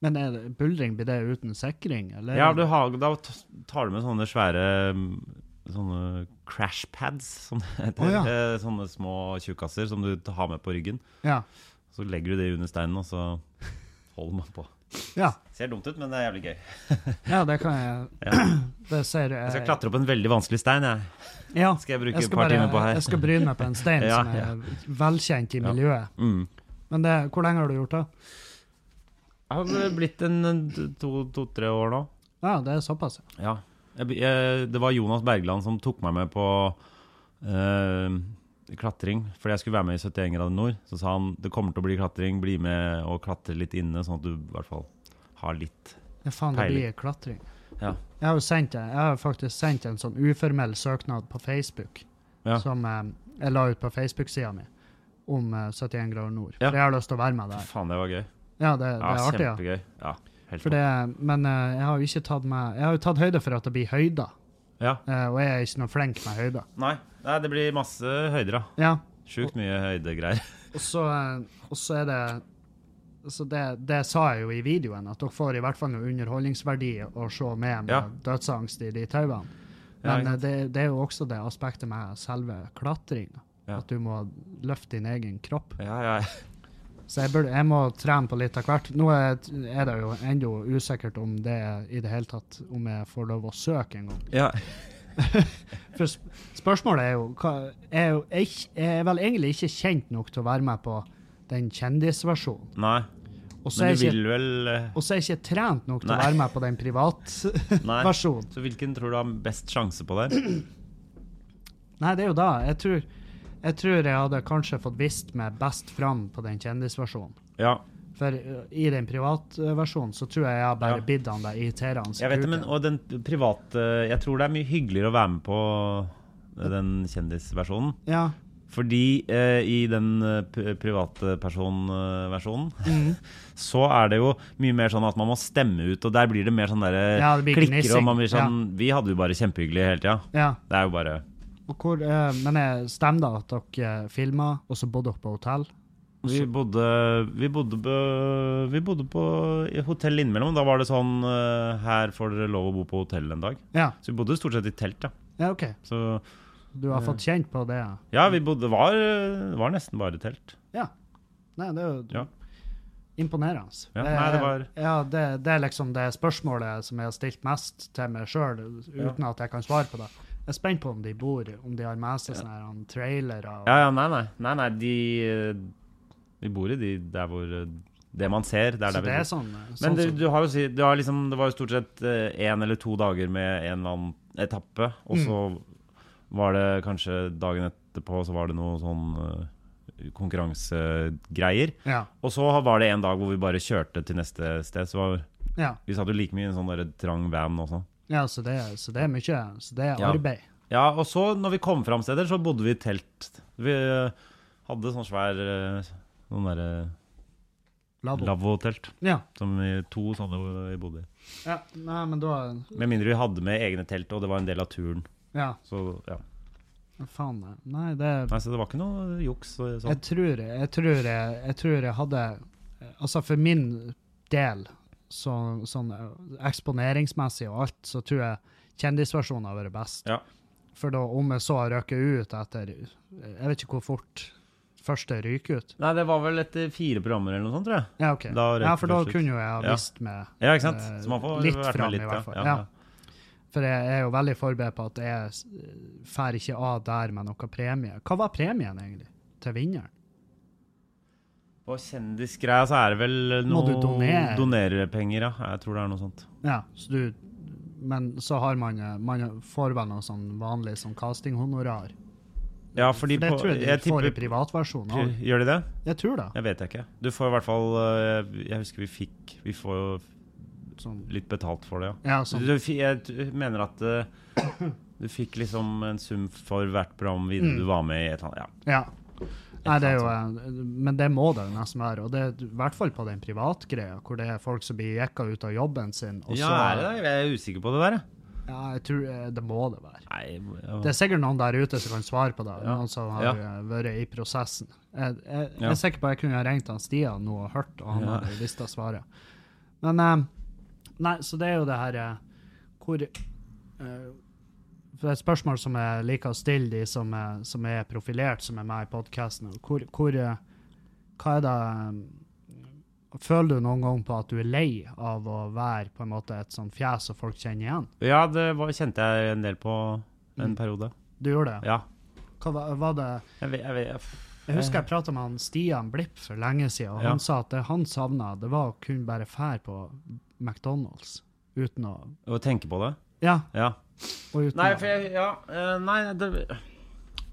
Men er det, buldring, blir det uten sikring? Eller? Ja, du har, da t- tar du med sånne svære mm, Sånne crash pads, som det heter. Å, ja. Eh, Sånne små tjukkasser som du har med på ryggen. Ja. Så legger du det under steinen, og så holder man på. Ja. Ser dumt ut, men det er jævlig gøy. ja, det kan jeg Det ser jeg. Jeg skal klatre opp en veldig vanskelig stein. Jeg. Ja, Skal jeg bruke Eh. et jeg skal, par bare, timer på her. jeg skal bryne meg på en stein Ja, som er velkjent i Ja. miljøet. Mm. Men det, hvor lenge har du gjort det? Jeg har blitt en eh, to-tre år nå. Ja, det er såpass. Ja. Jeg, be- jeg, det var Jonas Bergland som tok meg med på eh, klatring. Fordi jeg skulle være med i 71 grader nord. Så sa han det kommer til å bli klatring, bli med og klatre litt inne, sånn at du i hvert fall har litt Ja, faen, det Peiling. blir klatring. Ja. Jeg har jo sendt, det. jeg har faktisk sendt en sånn uformell søknad på Facebook, Ja. som eh, jeg la ut på Facebook-sida mi, om eh, 71 grader nord. Ja. For jeg har lyst til å være med der. Faen, det var gøy. Ja, det, det Ja, er artig, ja. kjempegøy. Ja, helt For det, men eh, jeg har jo ikke tatt med Jeg har jo tatt høyde for at det blir høyder, topp. Ja. eh, og jeg er ikke noe flink med høyder. Nei. Nei, det blir masse høyder, da. Ja, Sjukt mye høydegreier. og så, eh, og så er det så det, det sa jeg jo i videoen, at dere får i hvert fall noe underholdningsverdi å se med med Ja. dødsangst i de tauene. Ja, Men ikke eh, det, det er jo også det aspektet med selve klatringa. Ja. At du må løfte din egen kropp. Ja, ja. Så jeg, burde, jeg må trene på litt av hvert. Nå er, er det jo ennå usikkert om det i det hele tatt Om jeg får lov å søke en gang. ja. For sp- spørsmålet er jo hva- er jo- Jeg er ikke- jeg er vel egentlig ikke kjent nok til å være med på den kjendisversjonen. Nei. Og så er Men jeg du ikke, vil vel eh, og så er jeg ikke trent nok til å Nei. være med på den privatversjonen. Nei. Så hvilken tror du har best sjanse på det? Nei, det er jo da. Jeg tror Jeg tror jeg hadde kanskje fått vist meg best fram på den kjendisversjonen. Ja, For eh, i den privatversjonen så tror jeg jeg har bare Ja. bidd han der irriterende jeg vet det, men kuken. og den private Jeg tror det er mye hyggeligere å være med på eh, den kjendisversjonen. Ja. Fordi eh, i den eh, p- private personversjonen Mm. så er det jo mye mer sånn at man må stemme ut, og der blir det mer sånn der eh, Ja, det blir klikker, gnissing. og man blir sånn Vi hadde jo bare kjempehyggelig hele tida. ja. Det er jo bare Og hvor, eh, men jeg stemmer da at dere filma, og så bodde dere på hotell? Vi bodde, vi bodde, på, vi bodde på i hotell innimellom. Da var det sånn eh, Her får dere lov å bo på hotell en dag. Ja, Så vi bodde stort sett i telt, ja. ja OK. Så Du har fått kjent på det? ja. ja, vi bodde var, var nesten bare telt. Nei, det er jo Ja. imponerende. Eh, Ja, nei, det var- ja, det, det er liksom det spørsmålet som jeg har stilt mest til meg sjøl, uten at jeg kan svare på det. Jeg er spent på om de bor, om de har med seg sånne her, han, trailere. og- Ja, ja, nei, nei. nei, nei de, eh, vi bor i de der hvor eh, Det man ser, det er så der vi det er bor. sånn, Men sånn du, som- du har jo si, du har liksom, det var jo stort sett én eller to dager med en eller annen etappe, og så Mm. var det kanskje dagen etterpå så var det noe sånn eh, konkurransegreier. ja, Og så var det en dag hvor vi bare kjørte til neste sted. Så var, ja, vi satt jo like mye i en sånn der trang van også. ja, så det, er- så det er mye. Så det er Ja. arbeid. Ja, og så når vi kom fram steder, så bodde vi i telt. Vi eh, hadde sånn svær eh, Noen derre Labo. lavvo-telt. Ja. Som vi, to sånne hvor vi bodde i. ja. Nei, men da Med mindre vi hadde med egne telt, og det var en del av turen. Ja, Så ja. faen. nei. Nei, det Nei, så det var ikke noe juks. og Jeg Sånn. tror jeg, jeg tror jeg, jeg tror jeg hadde Altså for min del, så, sånn eksponeringsmessig og alt, så tror jeg kjendisversjonen har vært best. Ja. For da, om jeg så har røket ut etter Jeg vet ikke hvor fort første ryker ut. Nei, det var vel etter fire programmer eller noe sånt, tror jeg. Ja, ok. Da røker ja, for da først ut. kunne jo jeg ha Ja. visst meg Ja, ikke sant? eh, Så man får litt vært med fram, litt, i ja. hvert fall. Ja, Ja, ja. For jeg er jo veldig forberedt på at jeg s- fær ikke av der med noe premie. Hva var premien, egentlig? Til vinneren? På kjendisgreia så er det vel Må noe du donere? Donerepenger, ja. Jeg tror det er noe sånt. Ja, så du, men så har man, eh, man får vel noe sånn vanlig sånn castinghonorar. Ja, fordi For det på, tror jeg du jeg får i tipper privatversjonen òg. Gjør de det? Jeg tror det. Jeg vet jeg ikke. Du får i hvert fall eh, Jeg husker vi fikk Vi får jo Sånn, litt betalt for det, ja. ja, Så sånn, du, fi- jeg t- mener at eh, du fikk liksom en sum for hvert program videre du var med i et eller annet. Ja. ja. Nei, det er jo, sant, eh, men det må det jo nesten være. Og det er i hvert fall på den privatgreia, hvor det er folk som blir jekka ut av jobben sin. Og ja, så, er det det? Jeg er usikker på det der, jeg. Ja, jeg tror eh, det må det være. Nei, Det er sikkert noen der ute som kan svare på det, Ja. noen som har Ja. eh, vært i prosessen. Jeg, jeg, jeg Ja. er sikker på at jeg kunne ha ringt han Stian nå og hørt, og han Ja. hadde visst å svare. Men eh, Nei, så det er jo det her eh, Hvor eh, For et spørsmål som jeg liker å stille de som er, som er profilert, som er med i podkasten, hvor, hvor eh, Hva er det eh, Føler du noen gang på at du er lei av å være på en måte et sånt fjes som folk kjenner igjen? ja, det var, kjente jeg en del på en Mm. periode. Du gjorde det? Ja. Hva var- var det Jeg, vet- jeg, vet- Jeg husker jeg prata med han Stian Blipp for lenge siden, og Eh. Ja. han sa at det han savna, det var å kunne bare fære på McDonald's uten å Å tenke på det? Ja, Ja. og uten Nei, å for jeg Ja, eh, nei, det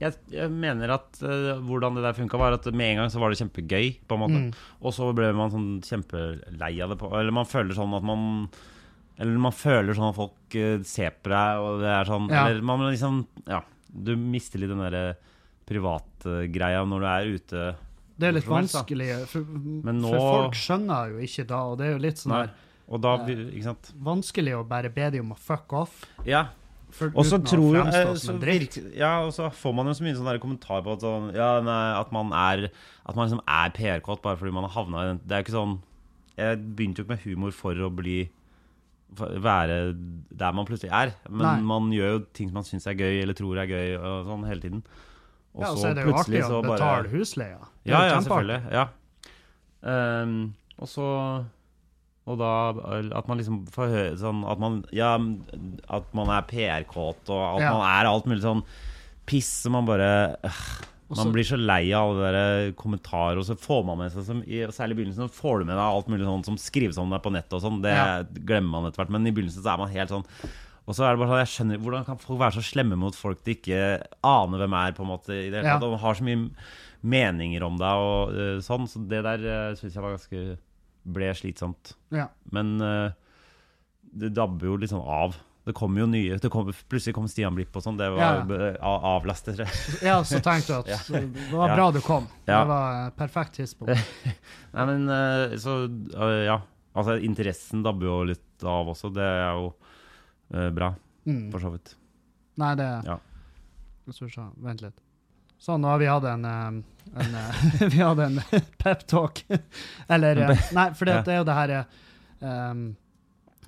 jeg, jeg mener at eh, hvordan det der funka, var at med en gang så var det kjempegøy, på en måte. Mm. Og så ble man sånn kjempelei av det på Eller man føler sånn at man Eller man føler sånn at folk eh, ser på deg, og det er sånn Ja. Eller man må liksom Ja. Du mister litt den derre privatgreia når du er ute. Det er litt Hvorfor helst, da? vanskelig, for, Men nå- for folk skjønner jo ikke da, og det er jo litt sånn Nei. der Og da blir- Ikke sant? vanskelig å bare be dem om å fuck off. Ja. For, Og så uten å tror jeg fremstå eh, så som en dritt. virker- Ja, og så får man jo så mye sånn der kommentar på at sånn Ja, nei, at man er At man liksom er PR-kåt bare fordi man har havna i den Det er jo ikke sånn Jeg begynte jo ikke med humor for å bli for å være der man plutselig er. Men Nei. man gjør jo ting som man syns er gøy, eller tror er gøy, og sånn hele tiden. Og Ja, og så så er det jo artig plutselig å så bare- betale husleia. Det er ja, jo ja, kjempeartig. selvfølgelig. Ja. Ehm, og så Og da at man liksom får høre sånn at man, ja, at man er PR-kåt, og at Ja. man er alt mulig sånn piss som man bare øh, Og Man så- blir så lei av alle de kommentarer, og så får man med seg som, i, Særlig i begynnelsen så får du med deg alt mulig sånn som skrives om deg på nettet og sånn. Det Ja. glemmer man etter hvert, men i begynnelsen så er man helt sånn Og så er det bare sånn, jeg skjønner Hvordan kan folk være så slemme mot folk de ikke aner hvem er, på en måte? I det hele Ja. tatt, og har så mye meninger om deg og eh, sånn. Så det der uh, syns jeg var ganske ble slitsomt. Ja. Men eh, det dabber jo litt sånn av. Det kommer jo nye det kom, Plutselig kom Stian Blipp og sånn. Det var Ja. eh, a- avlastet. tror jeg. ja, så tenkte du at Ja. så det var Ja. bra du kom. Ja. Det var eh, perfekt tidspunkt. Nei, men eh, så eh, Ja. Altså, interessen dabber jo litt av også. Det er jo eh, bra, Mm. for så vidt. Nei, det Ja. Hvis du skjønner- Vent litt. Sånn, nå har vi hatt en, eh, en eh, Vi hadde en pep-talk. Eller eh, Nei, for det, det er jo det her eh, um,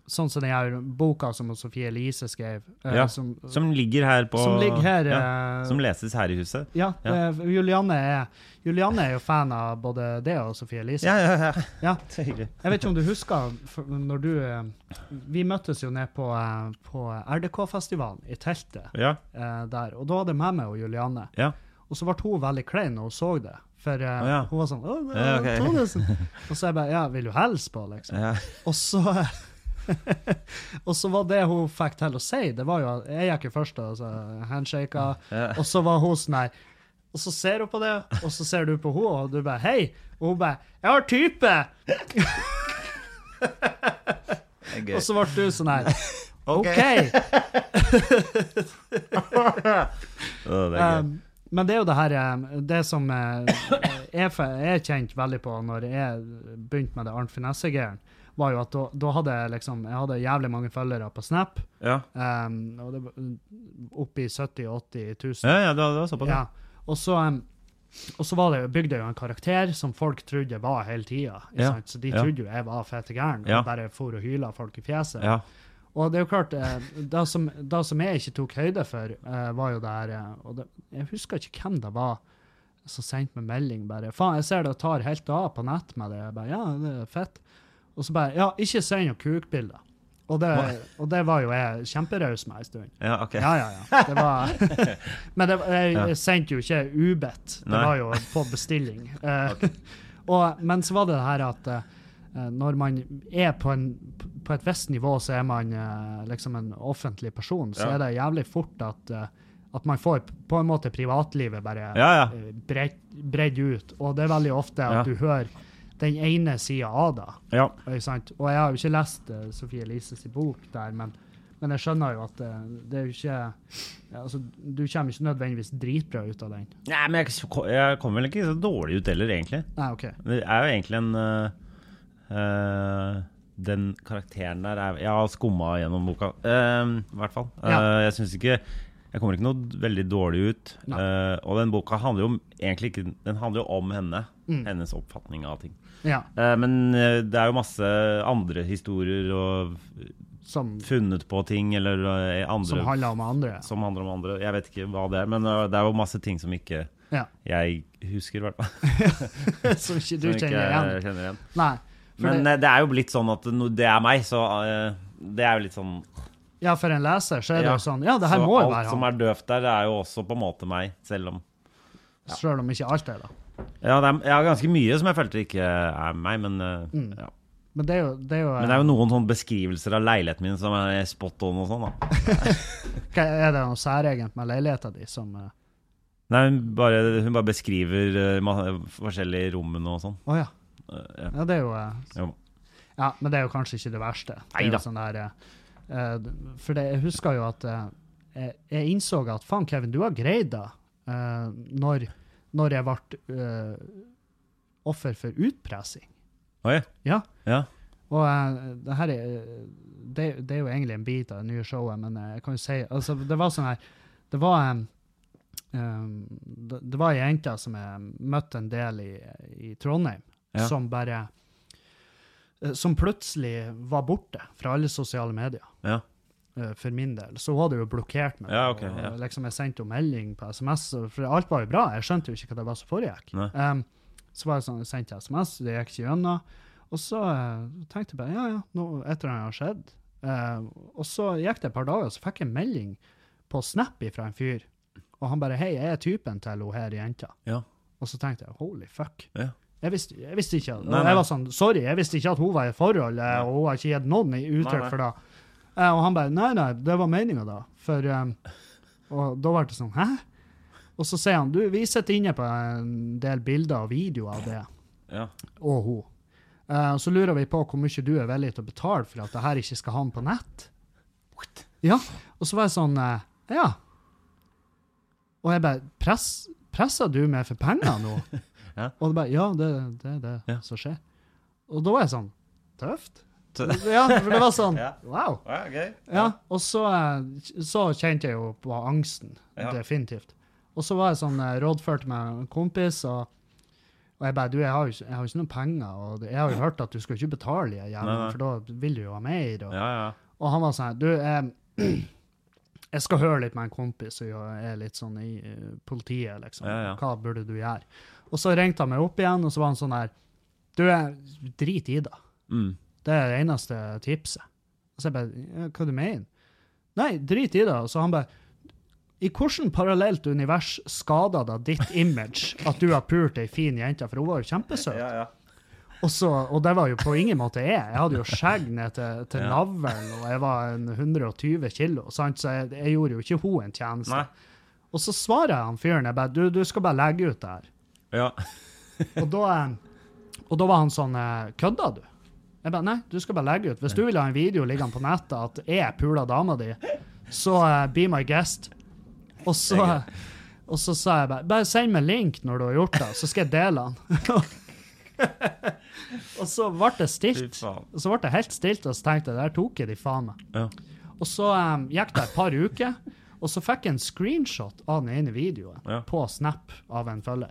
Sånn som den her boka som Sofie Elise skrev, eh, Ja, som, som, Som ligger her på ligger her. ja, eh, Som leses her i huset. ja, eh, Julianne, er, Julianne er jo fan av både det og Sofie Elise. Ja, ja, ja. Ja. Det er hyggelig. Jeg vet ikke om du husker for- når du eh, Vi møttes jo ned på, eh, på RDK-festivalen i teltet Ja, eh, der. Og da hadde jeg med meg og Julianne. Ja. Og så ble hun veldig klein når hun så det. For eh, Å, ja. hun var sånn Å, det Ja, er ok. Thodesen!» Og så jeg bare Ja, vil du hilse på, liksom? ja. Og så Og så var det hun fikk til å si, det var jo at Jeg gikk jo først og så handshaka, Ja. og så var hun sånn her og så ser hun på det, og så ser du på henne, og du bare 'Hei!' Og hun bare 'Jeg har type!' Og så ble du sånn her. OK! Å, det er gøy. Um, men det er jo det her eh, Det som eh, jeg, fe- jeg kjente veldig på når jeg begynte med det Arnt Finesse-greieren, var jo at da, da hadde jeg liksom Jeg hadde jævlig mange følgere på Snap. ja. Um, og det var oppi 70 000-80 000. ja, ja, det var det var såpass. Ja. Ja. Og så um, og så var det, jo- bygde jeg jo en karakter som folk trodde jeg var hele tida. ikke Ja. sant? Så de Ja. trodde jo jeg var fete gæren og Ja. bare for og hyla folk i fjeset. Ja. Og det er jo klart, eh, det som, det som jeg ikke tok høyde for, eh, var jo der eh, og det, Jeg husker ikke hvem det var som sendte meg melding bare Faen, jeg ser det tar helt av på nett med det. Jeg bare, ja, det er fett. Og så bare Ja, ikke send noen kukbilder. Og det, og det var jo jeg kjemperaus med en stund. ja, ok. Ja, ja, ja. Det var, men det, var- jeg, Ja. jeg sendte jo ikke ubedt. Det Nei. var jo på bestilling. Eh, og, men så var det det her at eh, når man er på, en, på et visst nivå, så er man eh, liksom en offentlig person, så Ja. er det jævlig fort at, eh, at man får på en måte privatlivet bare Ja, ja. eh, bredd, bredd ut. Og det er veldig ofte at Ja. du hører den ene sida av det. Ja. Ikke sant? Og jeg har jo ikke lest eh, Sofie Elises bok der, men, men jeg skjønner jo at eh, det er jo ikke ja, altså, Du kommer ikke nødvendigvis dritbra ut av den. Nei, men jeg, jeg kom vel ikke så dårlig ut heller, egentlig. Nei, OK. Det er jo egentlig en eh, eh, Den karakteren der er Jeg har skumma gjennom boka, eh, i hvert fall. Eh, Ja. jeg syns ikke Jeg kommer ikke noe veldig dårlig ut. Nei. Eh, og den boka handler jo om, egentlig ikke Den handler jo om henne. Mm. Hennes oppfatning av ting. Ja, Eh, men eh, det er jo masse andre historier og som, funnet på ting eller eh, andre som handler om andre. som handler om andre. Jeg vet ikke hva det er, men øh, det er jo masse ting som ikke Ja. jeg husker, i hvert fall. som ikke du Som ikke kjenner igjen. jeg kjenner igjen. Nei. For Men det, eh, det er jo blitt sånn at no, det er meg, så eh, det er jo litt sånn ja, for en leser så er det Ja. jo sånn Ja, det her Så må jo alt være som han, er døvt der, det er jo også på en måte meg, selv om selv om ikke alt er det. Ja, det er, jeg har ganske mye som jeg følte ikke er meg, men eh, Mm. ja. Men det er jo, det er jo, Men det er jo noen sånne beskrivelser av leiligheten min som er spot on og sånn, da. eh, Hva- er det noe særegent med leiligheten din som eh, Nei, hun bare, hun bare beskriver eh, ma- forskjellige rommene og sånn. Å ja. Eh, ja. Ja, det er jo eh, Jo. Ja, men det er jo kanskje ikke det verste. Det er Neida. jo sånn der, eh, eh, for det, jeg husker jo at eh, jeg, jeg innså at faen, Kevin, du har greid det eh, når, når jeg ble eh, offer for utpressing. Oi. Ja. Ja. Og eh, det her er det, det er jo egentlig en bit av det nye showet, men eh, jeg kan jo si altså, Det var sånn her Det var em, em, det, det var ei jente som jeg møtte en del i, i Trondheim, Ja. som bare eh, Som plutselig var borte fra alle sosiale medier. Ja. eh, For min del. Så hun hadde jo blokkert meg. Ja, ok, og ja. liksom Jeg sendte henne melding på SMS, og- for alt var jo bra. Jeg skjønte jo ikke hva det var som foregikk. Nei. Em, så var det sånn, jeg sendte SMS, det gikk ikke gjennom. Og så eh, tenkte jeg bare ja, ja, nå, et eller annet har skjedd. Eh, og så gikk det et par dager, og så fikk jeg en melding på Snap fra en fyr. Og han bare 'Hei, jeg er typen til hun her jenta'. Ja. Og så tenkte jeg 'holy fuck'. Ja. Jeg, visste, jeg visste ikke at, Nei, og nei. Jeg var sånn 'sorry, jeg visste ikke at hun var i forhold', eh, og hun har ikke gitt noen i Nei, uttrykk nei. for det. Eh, og han bare Nei, nei, det var meninga, da. For eh, Og da ble det sånn Hæ? Og så sier han du, vi sitter inne på en del bilder og videoer av det, Ja. og hun. Eh, og så lurer vi på hvor mye du er villig til å betale for at det her ikke skal havne på nett. Ja. Og så var jeg sånn eh, Ja. Og jeg bare Press, Pressa du meg for penger nå? Ja. Og det bare Ja, det er det, er det Ja. som skjer. Og da var jeg sånn Tøft. Tø- Ja, for det var sånn Ja. Wow. Ja, gøy. Ja, og så, eh, så kjente jeg jo på angsten, Ja. definitivt. Og så var jeg sånn eh, rådført med en kompis, og, og jeg bare, du, jeg har jo ikke, jeg har jo ikke noen penger, og jeg har jo hørt at du skal ikke betale i Nei, jævlen, nei. for da vil du jo ha mer. Og, Ja, ja. og han var sånn, du, jeg, jeg skal høre litt med en kompis, og jeg er litt sånn i eh, politiet, liksom. Ja, ja. Hva burde du gjøre? Og så ringte han meg opp igjen, og så var han sånn her, du, jeg, drit i det. Mm. Det er det eneste tipset. Og så jeg bare, «Ja, hva du mener? Nei, drit i det. Og så han bare, i hvordan parallelt univers skadet da ditt image at du har purt ei fin jente, for hun var jo kjempesøt. Ja, ja. Og, så, og det var jo på ingen måte jeg. Jeg hadde jo skjegg ned til, til Ja. navlen, og jeg var en 120 kilo, sant? så jeg, jeg gjorde jo ikke hun en tjeneste. Nei. Og så svarer jeg han fyren, jeg bare, du, du skal bare legge ut det her. Ja. Og da, og da var han sånn eh, Kødda du? Jeg bare, Nei, du skal bare legge ut. Hvis du vil ha en video liggende på nettet at jeg puler dama di, så eh, be my guest. Og så, og så sa jeg bare Bare send meg link når du har gjort det, så skal jeg dele den. og så ble Fy det stilt. faen. Og så ble det helt stilt, og så tenkte jeg der tok jeg de faen meg. Ja. Og så em, gikk det et par uker, og så fikk jeg en screenshot av den ene videoen Ja. på Snap av en følger.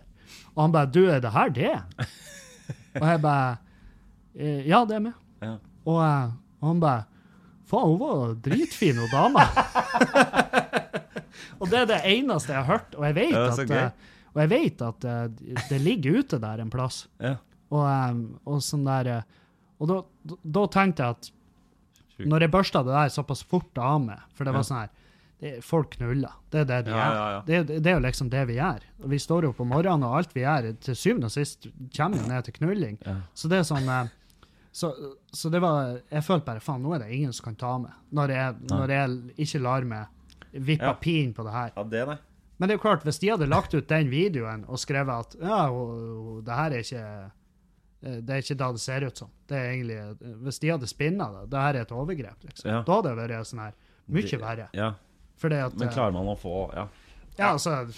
Og han bare 'Du, er det her det?' og jeg bare «Eh, 'Ja, det er meg'. Ja. Og eh, han bare 'Faen, hun var dritfin, hun dama'. og det er det eneste jeg har hørt, og jeg vet Ja, så at, gøy. eh, og jeg vet at eh, det ligger ute der en plass. ja. Og, em, og sånn der eh, Og da, da, da tenkte jeg at Sjukt. når jeg børsta det der såpass fort av meg For det var Ja. sånn her det, Folk knuller. Det er det de Ja, gjør. ja, ja. Det, er jo- det er jo liksom det vi gjør. Og vi står opp om morgenen, og alt vi gjør, til syvende og sist kommer jo ned til knulling. Ja. Så det er sånn eh, så, så det var Jeg følte bare faen, nå er det ingen som kan ta meg. Når jeg, når jeg ikke lar meg vippe Ja. pin på det her. ja, det, nei. Men det er jo klart, hvis de hadde lagt ut den videoen og skrevet at ja, og, og, det her er ikke eh, det er ikke da det ser ut som. Det er egentlig, eh, hvis de hadde spinna det, det her er et overgrep. liksom. Ja. Da hadde det vært sånn her Det- mye verre. Ja. Fordi at, Men eh, klarer man å få Ja, ja, altså,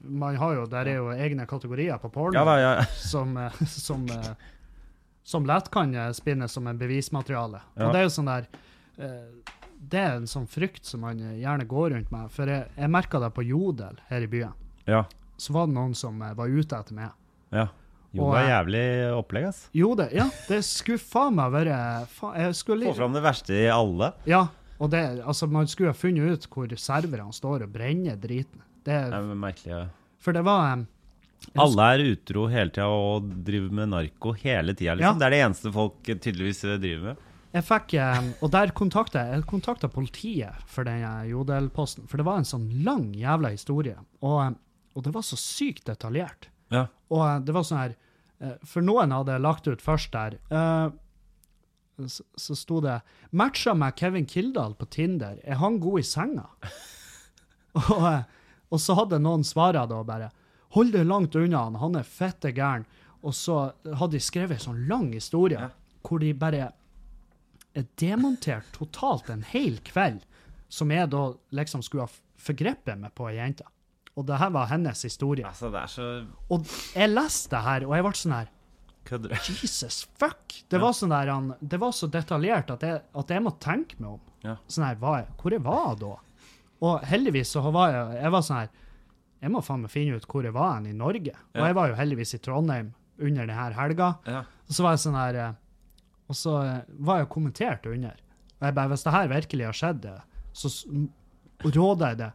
man har jo, Der er jo egne kategorier på porno ja da, ja. som, eh, som, eh, som lett kan eh, spinnes som en bevismateriale. Ja. Og det er jo sånn der eh, Det er en sånn frykt som man eh, gjerne går rundt med. For jeg, jeg merka det på Jodel her i byen. Ja. Så var det noen som eh, var ute etter meg. ja. Jo, Og, det er jævlig opplegg, ass. Jodel, ja, det skulle faen meg være faen, jeg skulle, Få fram det verste i alle. Ja, og det, altså, man skulle ha funnet ut hvor serverne står og brenner driten. Det, Det er merkelig. ja. for det var eh, em, Alle er utro hele tida og driver med narko hele tida. Liksom. Ja. Det er det eneste folk tydeligvis eh, driver med. Jeg fikk, em, og der kontakta jeg, jeg kontaktet politiet for den eh, Jodel-posten, for det var en sånn lang jævla historie, og, em, og det var så sykt detaljert. Ja. Og eh, det var sånn her, eh, for noen hadde jeg lagt ut først der, eh, så, så sto det, matcha med Kevin Kildahl på Tinder, er han god i senga? og, eh, og så hadde noen svaret da bare, hold deg langt unna han, han er fette gæren. Og så hadde de skrevet en sånn lang historie, Ja. hvor de bare demontert totalt en hel kveld, som jeg da liksom skulle ha f- forgrepet meg på ei jente. Og det her var hennes historie. Altså, det er så Og jeg leste det her, og jeg ble sånn her kødder. Jesus fuck! Det var, sånn der, han, det var så detaljert at jeg, at jeg måtte tenke meg om. Ja. Sånn her, hva jeg, hvor jeg var da? Og heldigvis så var jeg, jeg var sånn her Jeg må faen meg finne ut hvor jeg var hen i Norge. Og Ja. jeg var jo heldigvis i Trondheim under denne helga. Ja. Og så var jeg sånn her eh, Og så eh, var jeg kommentert under. Og jeg bare Hvis det her virkelig har skjedd, eh, så s- m- råder jeg det.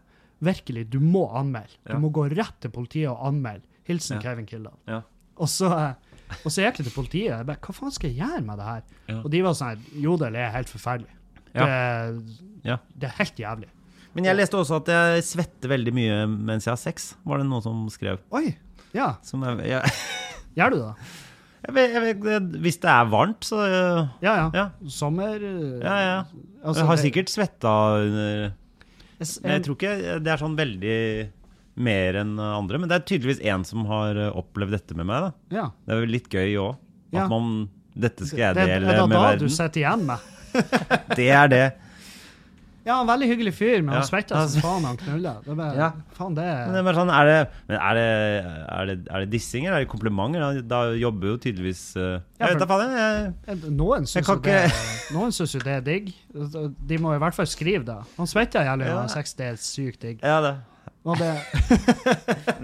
Virkelig, du må anmelde. Du Ja. må gå rett til politiet og anmelde. Hilsen Ja. Kevin Kildahl. Ja. Og så, eh, og så gikk jeg til politiet. Jeg bare, Hva faen skal jeg gjøre med det her? Ja. Og de var sånn her Jodel er helt forferdelig. Ja. Det, Ja. det er helt jævlig. Men jeg leste også at jeg svetter veldig mye mens jeg har sex, var det noen som skrev. Oi! Ja, Som jeg, jeg, gjør du det? Jeg vet, jeg vet, det- hvis det er varmt, så øh, Ja, ja. Ja. Sommer eh, Ja, ja. altså, Jeg har det- sikkert svetta under s- Men jeg tror ikke det er sånn veldig mer enn andre. Men det er tydeligvis én som har eh, opplevd dette med meg. da. ja. Det er jo litt gøy òg. Ja. At man Dette skal jeg det, dele er da med da du verden. sitter igjen med. Det er det. Ja, en veldig hyggelig fyr, men Ja. altså. han svetter som faen han knuller. Det er bare, Ja. faen det Men det er, bare sånn, er, det, men er, det, er, det, er det dissing, eller er det komplimenter? Da, da jobber jo tydeligvis eh, Jeg Ja, vet da for- faen, jeg. Noen syns, kan jo det, noen syns jo det er digg. De må i hvert fall skrive det. Han svetter jævlig Ja. når han har sex, det er sykt digg. Ja, det. Og det,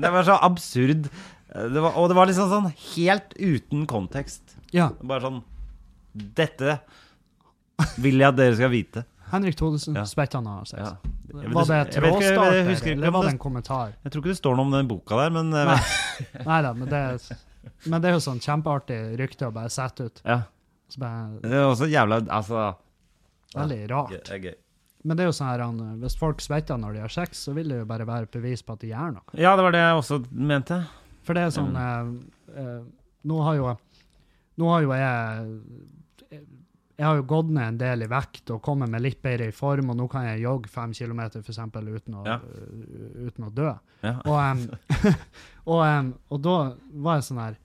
det var så absurd. Eh, Det var, og det var liksom sånn helt uten kontekst. ja, Bare sånn Dette vil jeg at dere skal vite. Henrik Thodesen, Ja. svetter han når han har sex. Ja. Jeg vet- Var det jeg vet ikke- jeg husker trådstarter, ikke om eller var det- det en kommentar? Jeg tror ikke det står noe om den boka der, men eh, Nei. Nei da, men det, men det er jo sånn kjempeartig rykte å bare sette ut. ja. Så bare, Det er også jævla Altså veldig rart. det er gøy. Men det er jo sånn her, han, hvis folk svetter når de har sex, så vil det jo bare være et bevis på at de gjør noe. Ja, det var det jeg også mente. For det er sånn eh, eh, Nå har jo Nå har jo jeg eh, Jeg har jo gått ned en del i vekt og kommet meg litt bedre i form, og nå kan jeg jogge fem kilometer for eksempel uten å, Ja. eh, uten å dø. Ja. Og, em, og, em, og da var jeg sånn her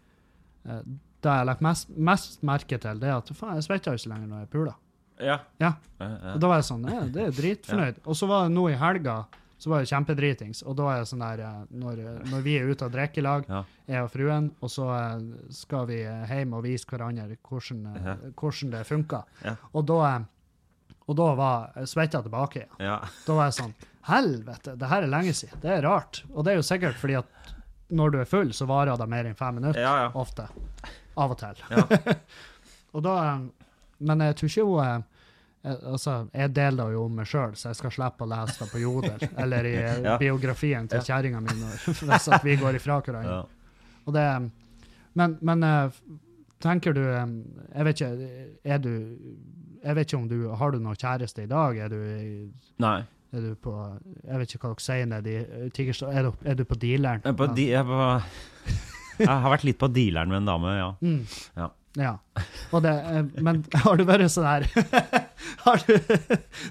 eh, Det jeg har lagt mest, mest merke til, det er at faen, jeg svetter jo ikke lenger når jeg puler. Ja. Ja. ja. Og da var jeg sånn, ja, det er dritfornøyd. Og så var det nå i helga, så var det kjempedritings. Og da er jeg sånn der, eh, når, eh, når vi er ute og drikker i lag, Ja. jeg og fruen, og så eh, skal vi eh, hjem og vise hverandre hvordan, eh, Ja. hvordan det funker. Ja. Og da, eh, og da var jeg svetta tilbake igjen. ja. Da var jeg sånn, helvete, det her er lenge siden. Det er rart. Og det er jo sikkert fordi at når du er full, så varer det mer enn fem minutter ja, ja. ofte. Av og til. Ja. og da, eh, men jeg tror ikke hun eh, eh, Altså, jeg deler det jo om meg sjøl, så jeg skal slippe å lese det på Jodel eller i eh, Ja. biografien til kjerringa mi når- hvis at vi går ifra hverandre. ja. Og det, um, men, men eh, tenker du eh, Jeg vet ikke, er du jeg vet ikke om du Har du noen kjæreste i dag? Er du, i- Nei. er du på Jeg vet ikke hva dere sier nedi Tigerstad. Er, du- er du på dealeren? Jeg, er på, Ja. de, jeg, er på, jeg har vært litt på dealeren med en dame, ja. Mm. Ja. Ja. Og det, eh, men har du vært sånn her har du,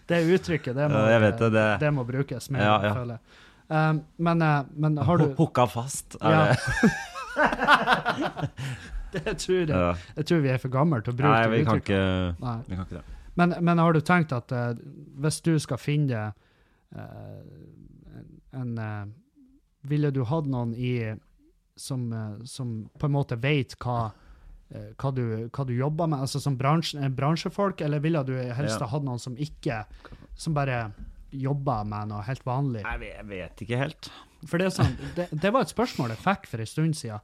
Det uttrykket, det må, Ja, Eh, jeg vet det, det- må brukes mer, Ja, ja. føler jeg. Um, men, eh, men har du Ho- Hooka fast. Er Ja. det? det tror jeg, Ja. jeg tror vi er for gamle til å bruke Nei, vi det kan uttrykket. ikke Nei. Vi kan ikke det. Men, men har du tenkt at eh, hvis du skal finne deg eh, en eh, Ville du hatt noen i som, eh, som på en måte vet hva eh, hva du, hva du jobber med, altså som bransje, eh, bransjefolk, eller ville du helst Ja. ha hatt noen som ikke Som bare jobber med noe helt vanlig? Nei, vi- jeg vet ikke helt. For det, er sånn, det, det var et spørsmål jeg fikk for en stund siden.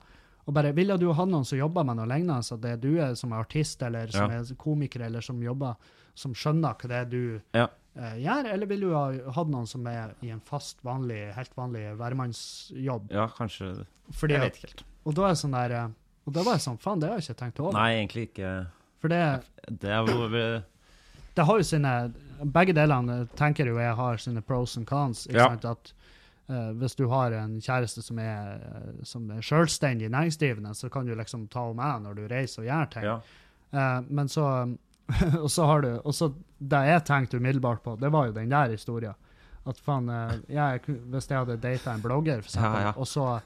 Og bare, Ville du ha noen som jobber med noe lignende? Så det er du er som er artist eller som Ja. er komiker eller som jobber, som skjønner hva det er du Ja. eh, gjør? Eller vil du ha hatt noen som er i en fast, vanlig, helt vanlig hvermannsjobb? Ja, kanskje Fordi, Jeg at- vet ikke helt. og da er jeg sånn der eh, og da var jeg sånn, faen, det har jeg ikke tenkt over. Nei, egentlig ikke. For det, Det er jo det har jo sine Begge delene tenker jo jeg har sine pros and cons. Ikke Ja. sant? At eh, hvis du har en kjæreste som er, eh, som er selvstendig næringsdrivende, så kan du liksom ta henne med når du reiser og gjør ting. Ja. Eh, men så Og så har du Og så det jeg tenkte umiddelbart på, det var jo den der historien. At faen, eh, jeg, ku- hvis jeg hadde data en blogger, for eksempel, Ja, ja. og så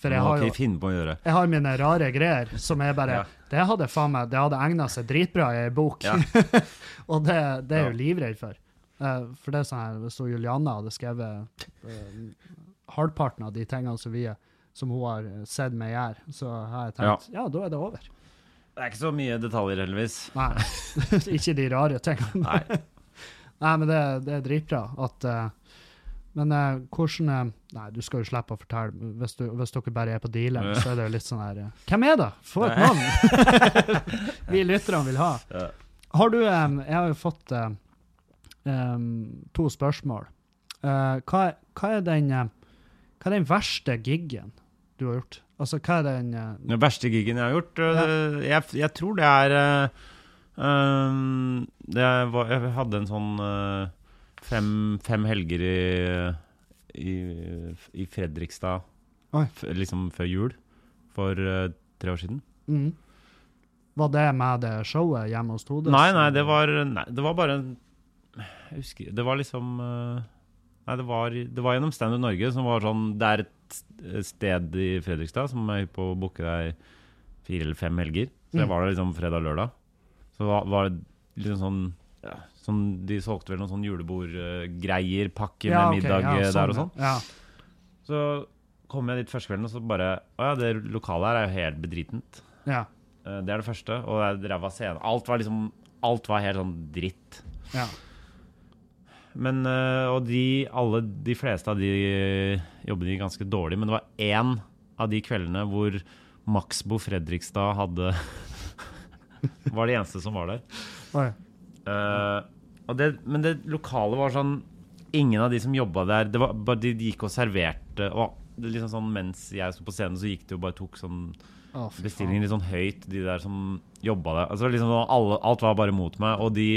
For Det jeg må har jo ikke finne på å gjøre. jeg har mine rare greier som er bare Ja. Det hadde faen meg, det hadde egna seg dritbra i ei bok. Ja. og det, det er jeg jo Ja. livredd for. Eh, for det er sånn her, Hvis hun Julianne hadde skrevet eh, halvparten av de tingene som, vi, som hun har eh, sett meg gjøre, så har jeg tenkt ja. da er det over. Det er ikke så mye detaljer, heldigvis. Nei, ikke de rare tingene. Nei. Nei, men det, det er dritbra at eh, Men eh, hvordan eh, Nei, du skal jo slippe å fortelle. Hvis, du, hvis dere bare er på dealeren, så er det jo litt sånn her eh, Hvem er det? Få et Nei. navn! Vi lytterne vil ha. Ja. Har du eh, Jeg har jo fått eh, em, to spørsmål. Eh, hva, hva er den eh, Hva er den verste giggen du har gjort? Altså, hva er den eh, Den verste gigen jeg har gjort øh, jeg, jeg tror det er øh, øhm, det var, Jeg hadde en sånn øh, fem, fem helger i, øh, i, øh, i Fredrikstad Oi. f, liksom før jul for øh, tre år siden. mm, Var det med det showet hjemme hos Todes? Nei, nei, det var, nei, det var bare en Jeg husker Det var liksom eh, Nei, det var, det var gjennom Standup Norge, som var sånn Det er et sted i Fredrikstad som er på å booke deg fire eller fem helger. Så Mm. jeg var der liksom fredag-lørdag. Så var, var det liksom sånn ja, sånn, De solgte vel noen sånn julebordgreier, pakke Ja, med ok, middag ja, eh, der og ja. sånn. Så kom jeg dit første kvelden, og så bare Å ja, det lokalet her er jo helt bedritent. Ja, Eh, Det er det første. Og det er ræva scene. Alt var liksom Alt var helt sånn dritt. ja, ja. Men, eh, og de, alle, de fleste av de jobbene gikk ganske dårlig, men det var én av de kveldene hvor Maxbo Fredrikstad hadde Var det eneste som var der. Oi. Eh, og det, men det lokalet var sånn Ingen av de som jobba der, det var, bare de, de gikk og serverte. Og det liksom sånn, mens jeg sto på scenen, så gikk det jo bare tok sånn Å, fy faen. bestillinger litt sånn høyt, de der som jobba der. Altså, det var liksom, sånn, alle, alt var bare mot meg, og de,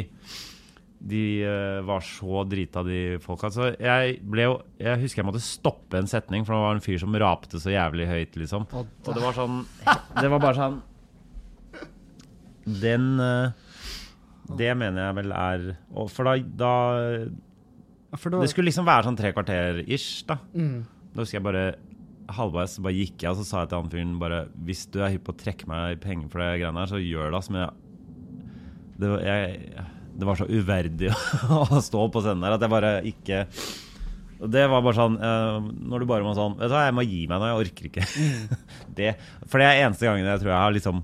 de eh, var så drita, de folka. Så jeg, ble jo, jeg husker jeg måtte stoppe en setning, for det var en fyr som rapte så jævlig høyt, liksom. Og Og det var sånn Det var bare sånn Den eh, Det mener jeg vel er og For da, da der- For da Det skulle liksom være sånn tre kvarter-ish, da. mm, Da husker jeg bare halvveis bare gikk jeg og så sa jeg til han fyren bare Hvis du er hypp på å trekke meg i penger for det greiene her, så gjør det, ass. Men jeg, det, var, jeg, det var så uverdig å stå på scenen der at jeg bare ikke og Det var bare sånn eh, Når du bare må sånn Vet du hva, jeg må gi meg nå, jeg orker ikke. det, for det er eneste gangen jeg tror jeg har liksom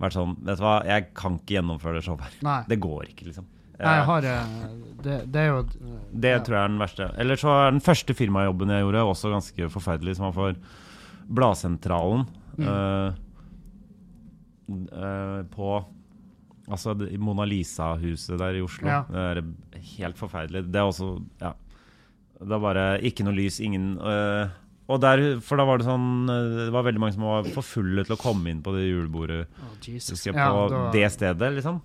vært sånn Vet du hva, jeg kan ikke gjennomføre det showet her. Nei. Det går ikke, liksom. Nei, jeg Eh, har eh, Det, det er jo eh, det ja. tror jeg er den verste. Eller så er den første firmajobben jeg gjorde, også ganske forferdelig, som var for Bladsentralen. Mm. eh, eh, på Altså det- i Mona Lisa-huset der i Oslo. Ja. Det er helt forferdelig. Det er også Ja. Det er bare ikke noe lys, ingen eh, Og der, For da var det sånn eh, Det var veldig mange som var for fulle til å komme inn på det julebordet Å, Jesus. husker jeg, Ja, på da- det stedet, liksom.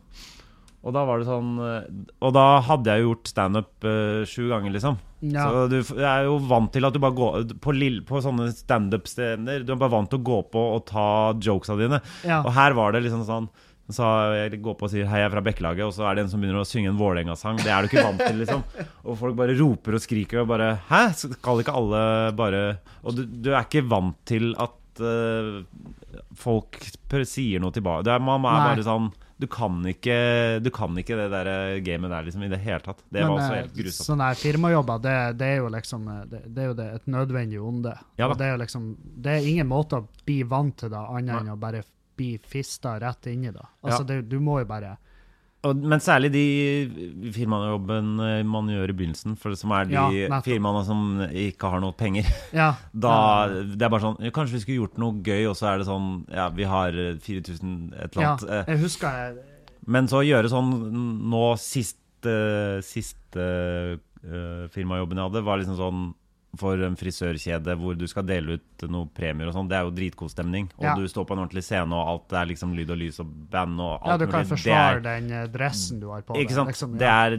Og da var det sånn eh, Og da hadde jeg jo gjort standup uh, sju ganger, liksom. ja. Så du f- jeg er jo vant til at du bare går På, lill- på sånne standup-steder Du er bare vant til å gå på og ta jokesa dine. Ja. Og her var det liksom sånn så jeg går på og sier 'hei, jeg er fra Bekkelaget', og så er det en som begynner å synge en Vålerenga-sang. Det er du ikke vant til, liksom. Og folk bare roper og skriker og bare 'hæ, skal ikke alle bare Og du, du er ikke vant til at eh, folk pr- sier noe tilbake. Det er, man er Nei. bare sånn du kan, ikke, du kan ikke det der gamet der, liksom, i det hele tatt. Det var også eh, helt grusomt. Sånne her firmajobber, det, det er jo liksom eh, det, det er jo det, et nødvendig onde. Ja da. og det, er jo liksom, det er ingen måte å bli vant til det, annet enn å bare bli fista rett inni det. Ja. Altså, det, du må jo bare Og, men særlig de firmajobben eh, man gjør i begynnelsen, for, som er de Ja, nettopp. firmaene som ikke har noe penger. Ja. Da, det er bare sånn Kanskje vi skulle gjort noe gøy, og så er det sånn Ja, vi har eh, 4000 et eller ja. annet. eh, Jeg husker jeg Men så gjøre sånn nå sist eh, Siste eh, firmajobben jeg hadde, var liksom sånn for en frisørkjede hvor du skal dele ut noen premier og sånn. Det er jo dritgod stemning. Og Ja. du står på en ordentlig scene, og alt er liksom lyd og lys og band og alt Ja, du mulig. kan Det er- forsvare den eh, dressen du har på ikke sant? liksom, det, ja. er,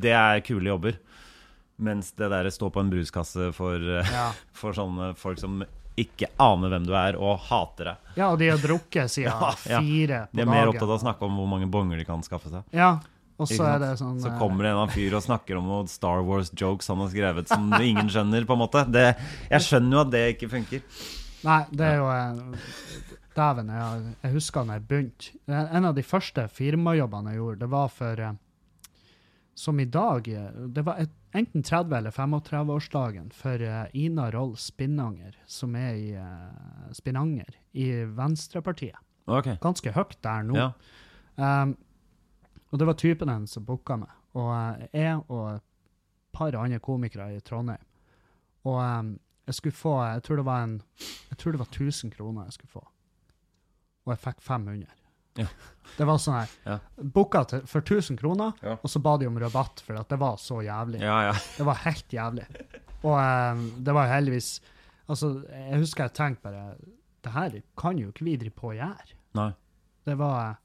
det er kule jobber. Mens det der stå på en bruskasse for, eh, Ja. for sånne folk som ikke aner hvem du er, og hater deg. ja, og de har drukket siden Ja, ja. fire på dagen. De er mer opptatt av å snakke om hvor mange bonger de kan skaffe seg. Ja, og Ikke så er sant? det sånn Så eh, kommer det en eller annen fyr og snakker om noen Star Wars-jokes han har skrevet som ingen skjønner, på en måte. Det, jeg skjønner jo at det ikke funker. Nei, det er jo eh, Dæven, jeg, jeg husker da jeg begynte. En en av de første firmajobbene jeg gjorde, det var for eh, Som i dag eh, Det var et, enten 30- eller 35-årsdagen for eh, Ina Roll Spinnanger, som er i eh, Spinanger, i Venstrepartiet. Ok, Ganske høyt der nå. ja. Um, og det var typen hennes som booka meg. Og eh, jeg og et par andre komikere i Trondheim. Og em, jeg skulle få Jeg tror det var en Jeg tror det var 1000 kroner jeg skulle få. Og jeg fikk 500. Ja. Det var sånn her. Ja. Booka til- for 1000 kroner, Ja. og så ba de om rabatt, for at det var så jævlig. ja, ja. Det var helt jævlig. Og eh, det var heldigvis Altså, jeg husker jeg tenkte bare Det her kan jo ikke vi drive på å gjøre. Nei. Det var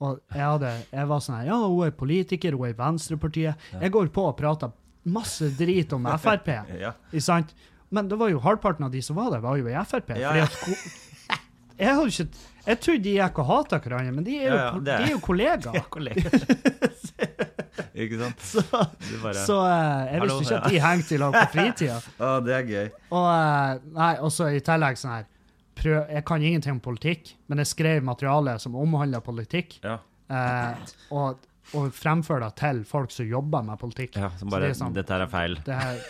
Og jeg, hadde, jeg var sånn her Ja, hun er politiker, hun er i Venstrepartiet. Jeg går på og prater masse drit om Frp. Ja. Ikke sant? Men det var jo halvparten av de som var der, var jo i Frp. Ja, fordi ja. at ko- Jeg, hadde ikke, jeg trodde de gikk og hata hverandre, men de er jo, Ja, ja, det er- de er jo kollegaer. Ikke sant? Så, Du bare, så eh, jeg Hallo, visste ikke at de hengte i lag på fritida. Å, det er gøy. Og eh, nei, også i tillegg sånn her prøv, Jeg kan ingenting om politikk, men jeg skrev materiale som omhandla politikk, Ja. eh, og, og fremfører det til folk som jobber med politikk. ja som Så det bare er sånn- Dette her er feil. Det her,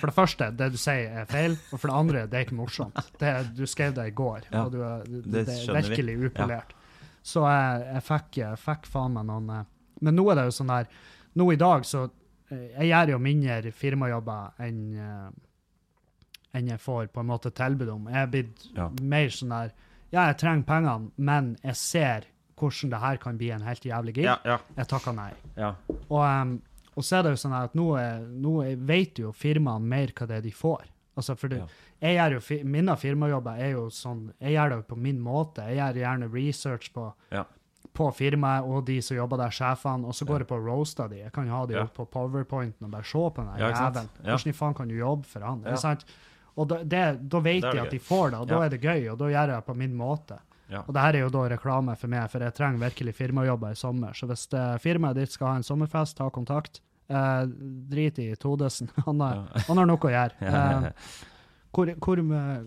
for det første, det du sier er feil, og for det andre, det er ikke morsomt. Det, du skrev det i går, Ja, og du, er- det, det det er skjønner vi. virkelig upolert. Så jeg, jeg fikk, jeg fikk faen meg noen eh, Men nå er det jo sånn der Nå i dag så eh, Jeg gjør jo mindre firmajobber enn eh, enn jeg får på en måte tilbud om. Jeg er blitt Ja. mer sånn der Ja, jeg trenger pengene, men jeg ser hvordan det her kan bli en helt jævlig gig. Ja, ja, Jeg takker nei. ja. Og, em, og så er det jo sånn at nå, er, nå er- vet jo firmaene mer hva det er de får. Altså, for det, Ja. jeg gjør jo, fi- Mine firmajobber er jo sånn Jeg gjør det jo på min måte. Jeg gjør gjerne research på, Ja. på firmaet og de som jobber der, sjefene, og så går jeg på roaster de. Jeg kan jo ha de Ja. opp på powerpointen og bare se på den Ja, der ikke sant? jævelen. Ja. Hvordan i faen kan du jobbe for han? Ja. Ikke sant? Og da, det, da vet Da er de det at gøy. de får det, og da Ja. er det gøy, og da gjør jeg det på min måte. Ja. Og det her er jo da reklame for meg, for jeg trenger virkelig firmajobber i sommer. Så hvis eh, firmaet ditt skal ha en sommerfest, ta kontakt. Eh, drit i Todesen, han har, Ja. han har noe å gjøre. Ja. Eh, hvor hvor, eh,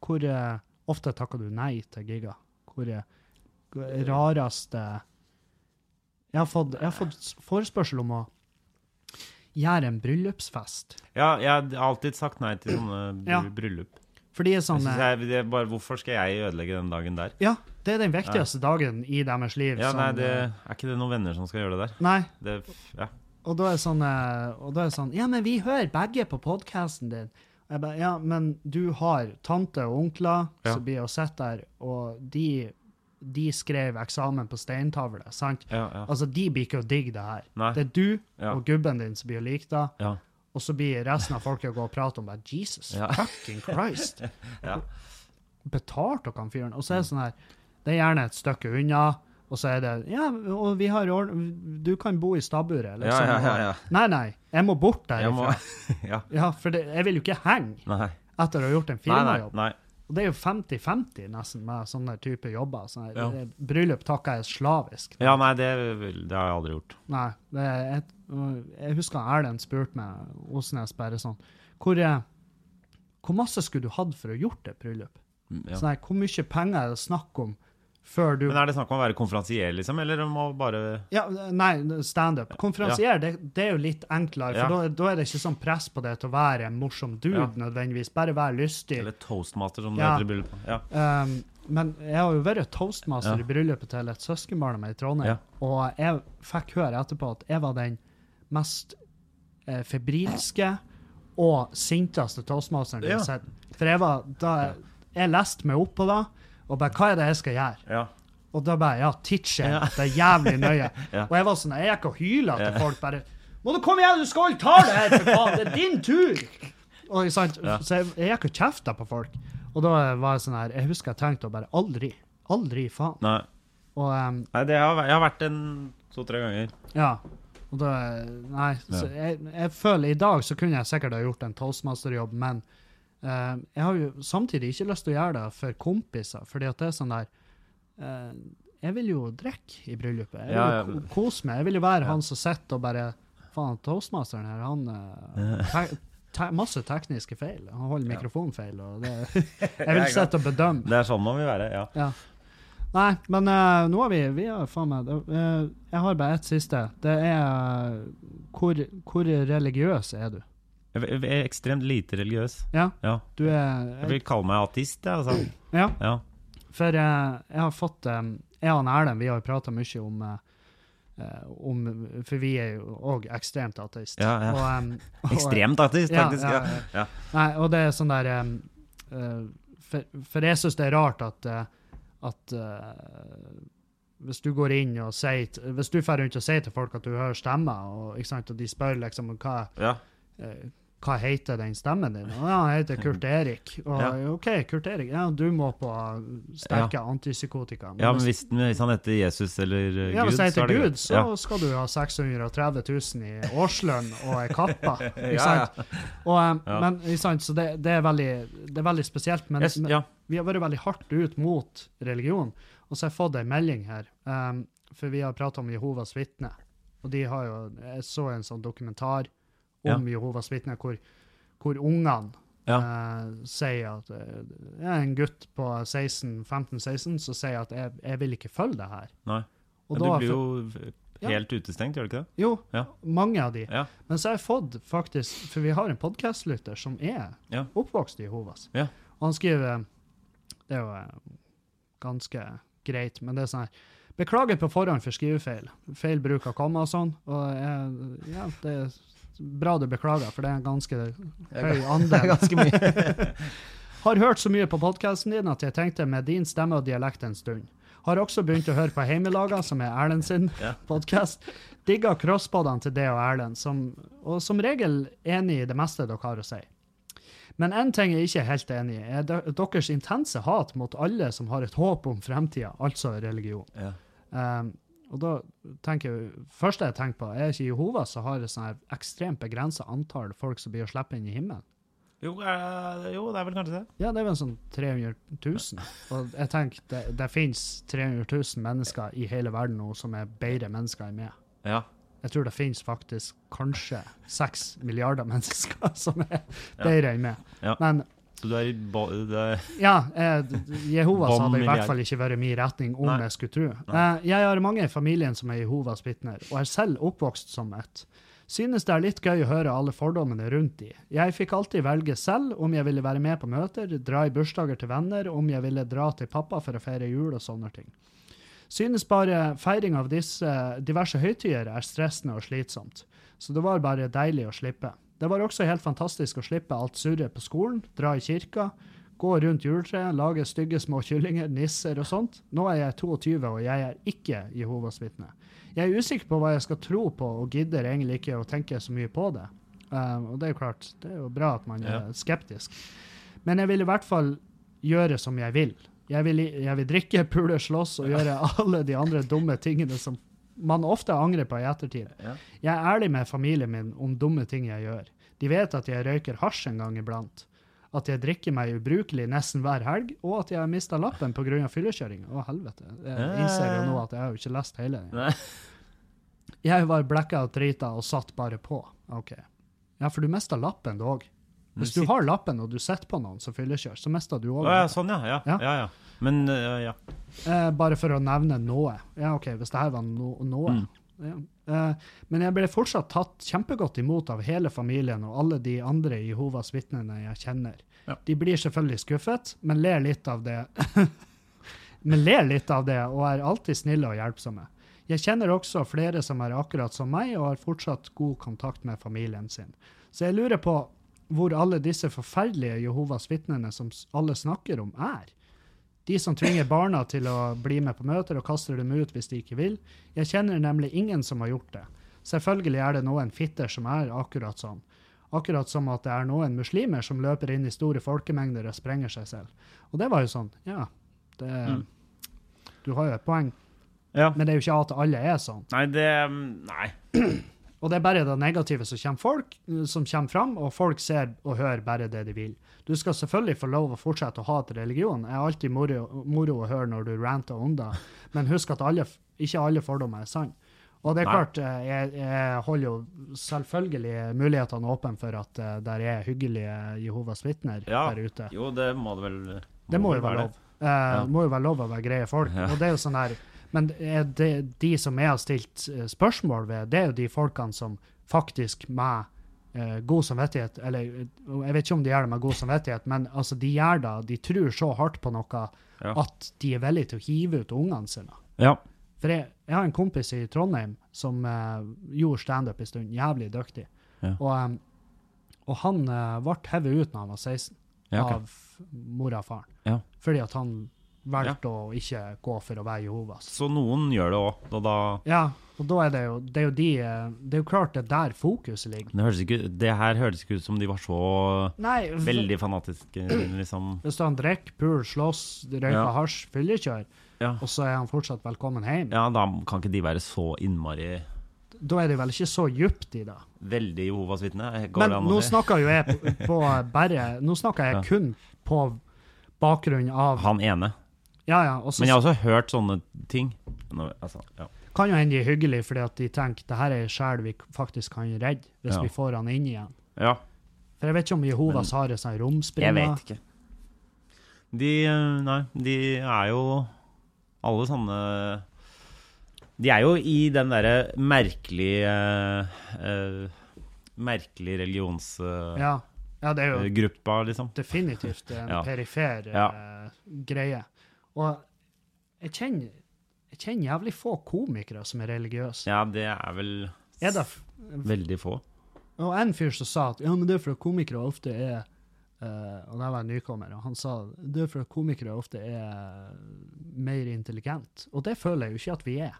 hvor eh, ofte takker du nei til giga? Hvor eh, rareste jeg har, fått, jeg har fått s- forespørsel om å gjøre en bryllupsfest. ja, jeg har alltid sagt nei til sånne bry- Ja. bryllup. For de er Jeg sånn synes eh, jeg, det er bare, hvorfor skal jeg ødelegge den dagen der? Ja, det er den viktigste dagen i deres liv. Ja, som, nei, det, eh, Er ikke det noen venner som skal gjøre det der? nei, Det, ja. Og da er det sånn, eh, og da er det sånn Ja, men vi hører begge på podkasten din. Og jeg bare, ja, men du har tante og onkler Ja. som blir og sitter der, og de, de skrev eksamen på steintavle, sant? Ja, ja. Altså, de blir ikke å digge det her. Nei. Det er du Ja. og gubben din som blir å like det, Ja. og så blir resten av folket å gå og prate om bare Jesus Ja. fucking Christ. Ja. Mm. Betalt dere han fyren? Og så er det sånn her Det er gjerne et stykke unna, og så er det Ja, og vi har ord- Du kan bo i stabburet, Ja, liksom. ja, ja, ja. Nei, nei, jeg må bort Jeg må derifra. Ja. Ja, for det, jeg vil jo ikke henge Nei. etter å ha gjort en Nei, nei, firmajobb. nei. Og det er jo 50-50 nesten med sånne type jobber. Sånne, Ja. eh, Bryllup takker jeg slavisk. Ja, nei, det, vil- det har jeg aldri gjort. Nei, det, er et- og jeg husker Erlend spurte meg, Osnes, bare sånn hvor, eh, hvor masse skulle du hatt for å gjort et bryllup? Ja. Sånn, her, hvor mye penger er det snakk om før du Men er det snakk om å være konferansier, liksom, eller om å bare Ja, nei, standup. Konferansier, det, det er jo litt enklere, for Ja. da, da er det ikke sånn press på det til å være en morsom dude, Ja. nødvendigvis. Bare være lystig. Eller toastmaster, som det Ja. heter i bryllupet. Ja. Um, men jeg har jo vært toastmaster Ja. i bryllupet til et søskenbarn av meg i Trondheim, Ja. og jeg fikk høre etterpå at jeg var den mest eh, febrilske og sinteste toastmasteren jeg Ja. har sett. For jeg var da Jeg leste meg opp på det, og bare Hva er det jeg skal gjøre? Ja. Og da bare Ja, teacher. Det er jævlig nøye. Ja. Og jeg var sånn, jeg gikk og hyla til folk bare Må du komme igjen, du skal holde tale her, for faen! Det er din tur! Og, ikke sant? Ja. Så jeg, jeg gikk og kjefta på folk. Og da var jeg sånn her Jeg husker jeg tenkte å bare Aldri. Aldri, faen. Nei. Og ehm, em, nei det har, jeg har vært en to-tre ganger. ja. Og da Nei. Så jeg, jeg føler i dag så kunne jeg sikkert ha gjort en toastmasterjobb, men eh, jeg har jo samtidig ikke lyst til å gjøre det for kompiser, fordi at det er sånn der eh, Jeg vil jo drikke i bryllupet. Jeg vil Ja, jo ja. ko- kose meg. Jeg vil jo være han som sitter og bare Faen, toastmasteren her, han eh, te te masse tekniske feil. Han holder mikrofonen feil. Og det, jeg vil sitte og bedømme. Det er sånn man vil være, ja. Ja. Nei, men eh, nå har vi, vi har faen meg eh, Jeg har bare ett siste. Det er eh, hvor, hvor religiøs er du? Jeg jeg er ekstremt lite religiøs. Ja, Ja. du er Jeg vil kalle meg ateist, jeg, altså. Ja, Ja. for eh, jeg har fått eh, Jeg og Erlend vi har jo prata mye om, eh, eh, om For vi er jo òg ekstremt ateist. Ja, ja. Og, eh, og- Ekstremt ateist, Ja, faktisk. ja, Ja, ja. Nei, og det er sånn der um, uh, for, for jeg syns det er rart at, uh, at uh, hvis du går inn og sier t- Hvis du drar rundt og sier til folk at du hører stemmer, og, ikke sant, og de spør liksom hva Ja. uh, hva heter den stemmen din? Og, Ja, han heter Kurt Erik. Og Ja. OK, Kurt Erik, ja, du må på sterke antipsykotika. Ja, men hvis, men hvis han heter Jesus eller eh, ja, Gud, hvis jeg så heter er det Gud, greit. så Ja. skal du ha 630 000 i årslønn og ei kappe. Ikke Ja, sant? Og, eh, Ja. Men ikke sant, så det, det, er veldig, det er veldig spesielt. Men, Jeg s- men ja. vi har vært veldig hardt ut mot religion. Og så har jeg fått ei melding her, eh, for vi har prata om Jehovas vitner. Og de har jo Jeg så en sånn dokumentar om Jehovas vitner hvor, hvor ungene eh, sier at eh, det er En gutt på 16, 15-16 som sier at jeg, 'jeg vil ikke følge det her'. Nei. Og Men du da- blir jo Ja. helt utestengt, gjør du ikke det? jo, Ja. mange av de. Ja. Men så har jeg fått faktisk, for vi har en podcastlytter som er Ja. oppvokst i Jehovas. Ja. Og han skriver, det er jo eh, ganske greit, men det er sånn her, beklager på forhånd for skrivefeil, feil bruk av komma og sånn, og eh, ja, det er bra du beklager, for det er en ganske høy andel. Ganske mye. Har hørt så mye på podcasten din at jeg tenkte med din stemme og dialekt en stund. Har også begynt å høre på Heimelaga, som er Erlend sin Ja. podcast. Digga crosspodene til det og Erlend, som, og som regel enig i det meste dere har å si. Men én ting jeg ikke er helt enig i, er de- deres intense hat mot alle som har et håp om fremtida, altså religion. Ja. Um, og da tenker jeg, første jeg tenker på, er ikke Jehova som har et sånn her ekstremt begrensa antall folk som blir å slippe inn i himmelen? Jo, eh, jo, det er vel kanskje det. Ja, det er vel sånn 300 000. Og jeg tenker, det, det finnes 300 000 mennesker i hele verden nå som er bedre mennesker enn meg. Ja. Jeg tror det finnes faktisk kanskje 6 milliarder mennesker som er bedre enn meg. Ja. Men Så du er i ba... Det er, ja, eh, Jehovas Bom hadde i milliard. hvert fall ikke vært min retning om Nei. jeg skulle tro. Eh, jeg har mange i familien som er Jehovas vitner, og er selv oppvokst som et. Synes det er litt gøy å høre alle fordommene rundt de. Jeg fikk alltid velge selv om jeg ville være med på møter, dra i bursdager til venner, om jeg ville dra til pappa for å feire jul og sånne ting. Synes bare feiring av disse diverse høytider er stressende og slitsomt, så det var bare deilig å slippe. Det var også helt fantastisk å slippe alt surret på skolen, dra i kirka, gå rundt juletreet, lage stygge små kyllinger, nisser og sånt. Nå er jeg 22, og jeg er ikke Jehovas vitne. Jeg er usikker på hva jeg skal tro på, og gidder egentlig ikke å tenke så mye på det. Eh, og det er jo klart, det er jo bra at man Ja. er skeptisk. Men jeg vil i hvert fall gjøre som jeg vil. Jeg vil, jeg vil drikke, pule, slåss og gjøre alle de andre dumme tingene som man ofte angrer på i ettertid. Ja. Jeg er ærlig med familien min om dumme ting jeg gjør. De vet at jeg røyker hasj en gang iblant, at jeg drikker meg ubrukelig nesten hver helg, og at jeg har mista lappen pga. fyllekjøring. Å, helvete. Jeg innser jo nå at jeg har jo ikke lest hele den. Nei. Jeg var blackout drita og satt bare på. Ok. Ja, for du mista lappen, du òg. Hvis du har lappen og du sitter på noen som fyllekjører, så mister du Å òg ja, sånn, ja. Ja, Ja. ja. ja, Men eh, ja. Eh, bare for å nevne noe. Ja, OK, hvis det her var no noe. Ja. Eh, men jeg ble fortsatt tatt kjempegodt imot av hele familien og alle de andre Jehovas vitnene jeg kjenner. Ja. De blir selvfølgelig skuffet, men ler litt av det. men ler litt av det, og er alltid snille og hjelpsomme. Jeg kjenner også flere som er akkurat som meg, og har fortsatt god kontakt med familien sin. Så jeg lurer på hvor alle disse forferdelige Jehovas vitnene som s- alle snakker om, er. De som tvinger barna til å bli med på møter og kaster dem ut hvis de ikke vil. Jeg kjenner nemlig ingen som har gjort det. Selvfølgelig er det noen fitter som er akkurat sånn. Akkurat som at det er noen muslimer som løper inn i store folkemengder og sprenger seg selv. Og det var jo sånn, ja. Det, Mm. Du har jo et poeng, ja. men det er jo ikke at alle er sånn. Nei, det mm, Nei. Og det er bare det negative som kommer, folk, eh, som kommer fram, og folk ser og hører bare det de vil. Du skal selvfølgelig få lov å fortsette å hate religion. Det er alltid moro, moro å høre når du ranter om det, men husk at alle, ikke alle fordommer er sann. Og det er Nei. klart, eh, jeg, jeg holder jo selvfølgelig mulighetene åpne for at eh, der er hyggelige Jehovas vitner Ja. der ute. Jo, det må det vel Det må jo vel være lov. Eh, må jo være lov å være greie folk. Ja. Og det er jo sånn her, men er det, de som jeg har stilt eh, spørsmål ved, det er jo de folkene som faktisk med eh, god samvittighet Eller eh, jeg vet ikke om de gjør det med god samvittighet, men altså, de gjør det. De tror så hardt på noe Ja. at de er villige til å hive ut ungene sine. Ja. For jeg, jeg har en kompis i Trondheim som eh, gjorde standup en stund, jævlig dyktig. Ja. Og, em, og han eh, ble hevet ut når han var 16 Ja, ok. av mora og faren. Ja. Fordi at han valgte å ikke gå for å være Jehovas. Så noen gjør det òg, og da Ja, Og da er det jo, det er jo, de, eh, det er jo klart det er der fokuset ligger. Det, høres ikke, det her høres ikke ut som de var så Nei, v- veldig fanatiske, liksom. hvis han drikker, puler, slåss, røyker Ja. hasj, fyllekjør, Ja. og så er han fortsatt velkommen hjem, ja, da kan ikke de være så innmari da er det vel ikke så djupt i det. Veldig Jehovas vitne? Går Men det an å nå si? snakker jo jeg på, på bare Nå snakker jeg Ja. kun på bakgrunn av Han ene. Ja, ja. Og så Men jeg har også hørt sånne ting. Nå, altså, ja. kan jo hende de er hyggelige fordi at de tenker det her er en sjel vi faktisk kan redde, hvis Ja. vi får han inn igjen. ja, For jeg vet ikke om Jehovas har en sånn jeg romspringe. vet ikke. De eh, Nei, de er jo alle sånne De er jo i den derre merkelige eh, eh, Merkelig religionsgruppa, Ja. ja, det er jo liksom. definitivt en Ja. perifer eh, greie. Og jeg kjenner, jeg kjenner jævlig få komikere som er religiøse. Ja, det er vel Er det, f- veldig få. og en fyr som sa at ja, men det er fordi komikere ofte er eh, Og det var en nykommer, og han sa det er fordi komikere ofte er eh, mer intelligent. Og det føler jeg jo ikke at vi er.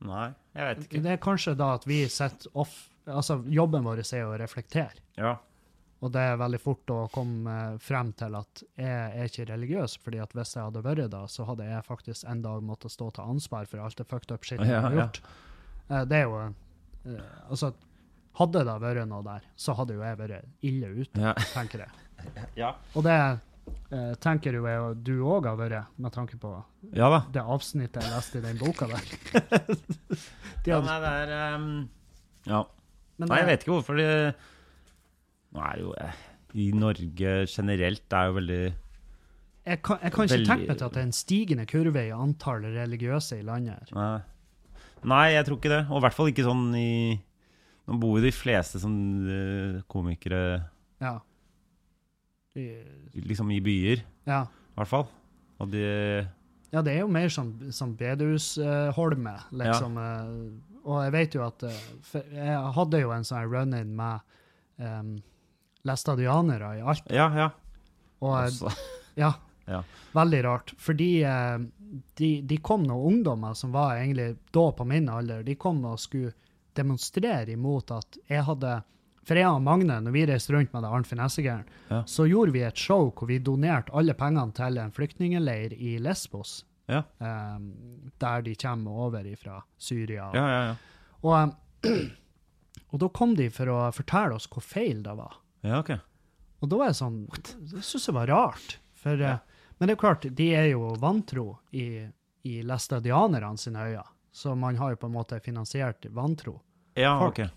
Nei, jeg vet ikke. Det er kanskje da at vi setter off Altså, jobben vår er å reflektere. Ja. Og det er veldig fort å komme eh, frem til at jeg er ikke religiøs, fordi at hvis jeg hadde vært det, så hadde jeg faktisk en dag måttet stå til ansvar for alt det fucked up shit jeg Ja, har ja. gjort. Eh, Det er jo eh, Altså, hadde det vært noe der, så hadde jo jeg vært ille ute, Ja. tenker jeg. ja. Og det eh, tenker jo jeg og du òg har vært, med tanke på Ja da. det avsnittet jeg leste i den boka der. De Ja, hadde, nei, det er ehm, Ja. men eh, Nei, jeg det- vet ikke hvorfor de Nå er det jo eh, I Norge generelt det er jo veldig Jeg kan, jeg kan ikke Veldig- tenke meg til at det er en stigende kurve i antall religiøse i landet. her. Nei, nei jeg tror ikke det. Og i hvert fall ikke sånn i Nå bor jo de fleste som eh, komikere Ja. I- liksom i byer, i Ja. hvert fall. Og de ja, det er jo mer som, som bedehusholme, liksom. eh, og jeg vet jo at eh, for Jeg hadde jo en sånn run-in med um, læstadianere i Alta. Ja, ja. Altså, Og eh, Også, Ja. Ja. Veldig rart. Fordi eh, de, de kom noen ungdommer som var egentlig da på min alder, de kom og skulle demonstrere imot at jeg hadde For jeg og Magne, når vi reiste rundt med det Arnt Finessegæren, Ja. så gjorde vi et show hvor vi donerte alle pengene til en flyktningeleir i Lesbos. Ja. Eh, der de kommer over ifra Syria. ja, ja, ja. Og, eh, og da kom de for å fortelle oss hvor feil det var. Ja, ok. Og da er jeg sånn Det syns jeg var rart. For, eh, Men det er klart, de er jo vantro i, i læstadianerne sine øyne. Så man har jo på en måte finansiert vantro. Ja, Folk. ok.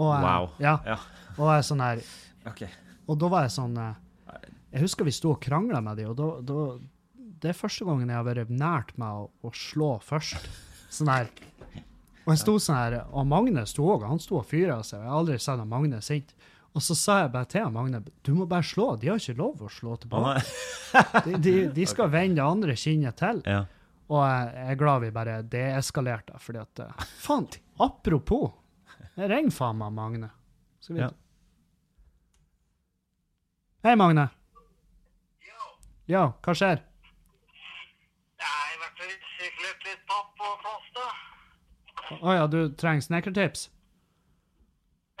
Og, eh, Wow. Ja, Ja. og, jeg er sånn her, Ok. og da var jeg sånn eh, Jeg husker vi sto og krangla med dem, og da, da Det er første gangen jeg har vært nært meg å, å slå først. Sånn her. Og jeg sto sånn her, og Magne sto òg, han sto og fyra seg. og Jeg har aldri sett han Magne sint. Og så sa jeg bare til han Magne du må bare slå, de har ikke lov å slå Å, tilbake. nei. De, de, de skal vende det andre kinnet til. Ja. Og jeg jeg er glad vi bare deeskalerte, fordi at eh, Faen, apropos! Jeg ringer faen meg Magne. Skal vi Ja. Hei, Magne. Ja, hva skjer? Nei, vært og syklet litt papp og pasta. Å ja, du trenger snekkertips?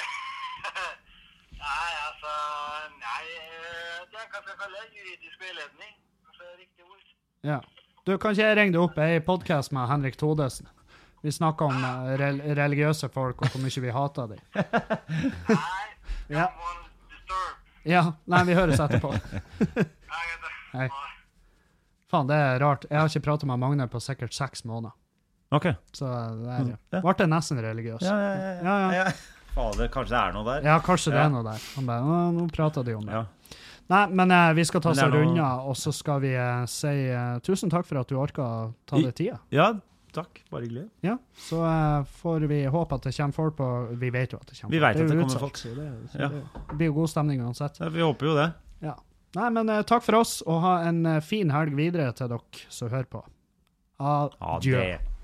Nei, altså, nei, eh, det er hva jeg kaller juridisk veiledning. Altså, riktig ord. Ja. Du, kan ikke jeg ringe deg opp? Jeg er i podkast med Henrik Todesen. Vi snakker om eh, rel religiøse folk og hvor mye vi hater dem. Nei, Ja. someone disturb. ja. Nei, vi høres etterpå. Nei, jeg vet det. Hei. Nei. Faen, det er rart. Jeg har ikke pratet med Magne på sikkert seks måneder. Ok. Så eh, det er Ja. Ble jeg nesten religiøs? Ja, Ja, ja, ja. ja. ja. Fader, kanskje det er noe der? kanskje det Ja. er noe der. Han bare «Å, Nå prater de om det. Ja. Nei, men eh, vi skal ta Men oss det er en noe- runde, og så skal vi eh, si eh, tusen takk for at du orka å ta I- deg tida. ja takk. Bare hyggelig. Ja, Så eh, får vi håpe at det kommer folk på Vi vet jo at det kommer Vi vet at jo det kommer utsolgt, folk. så det- Ja. så Det blir jo god stemning uansett. Ja, Vi håper jo det. Ja. Nei, men eh, takk for oss, og ha en eh, fin helg videre til dere som hører på. Ha Adjø. det.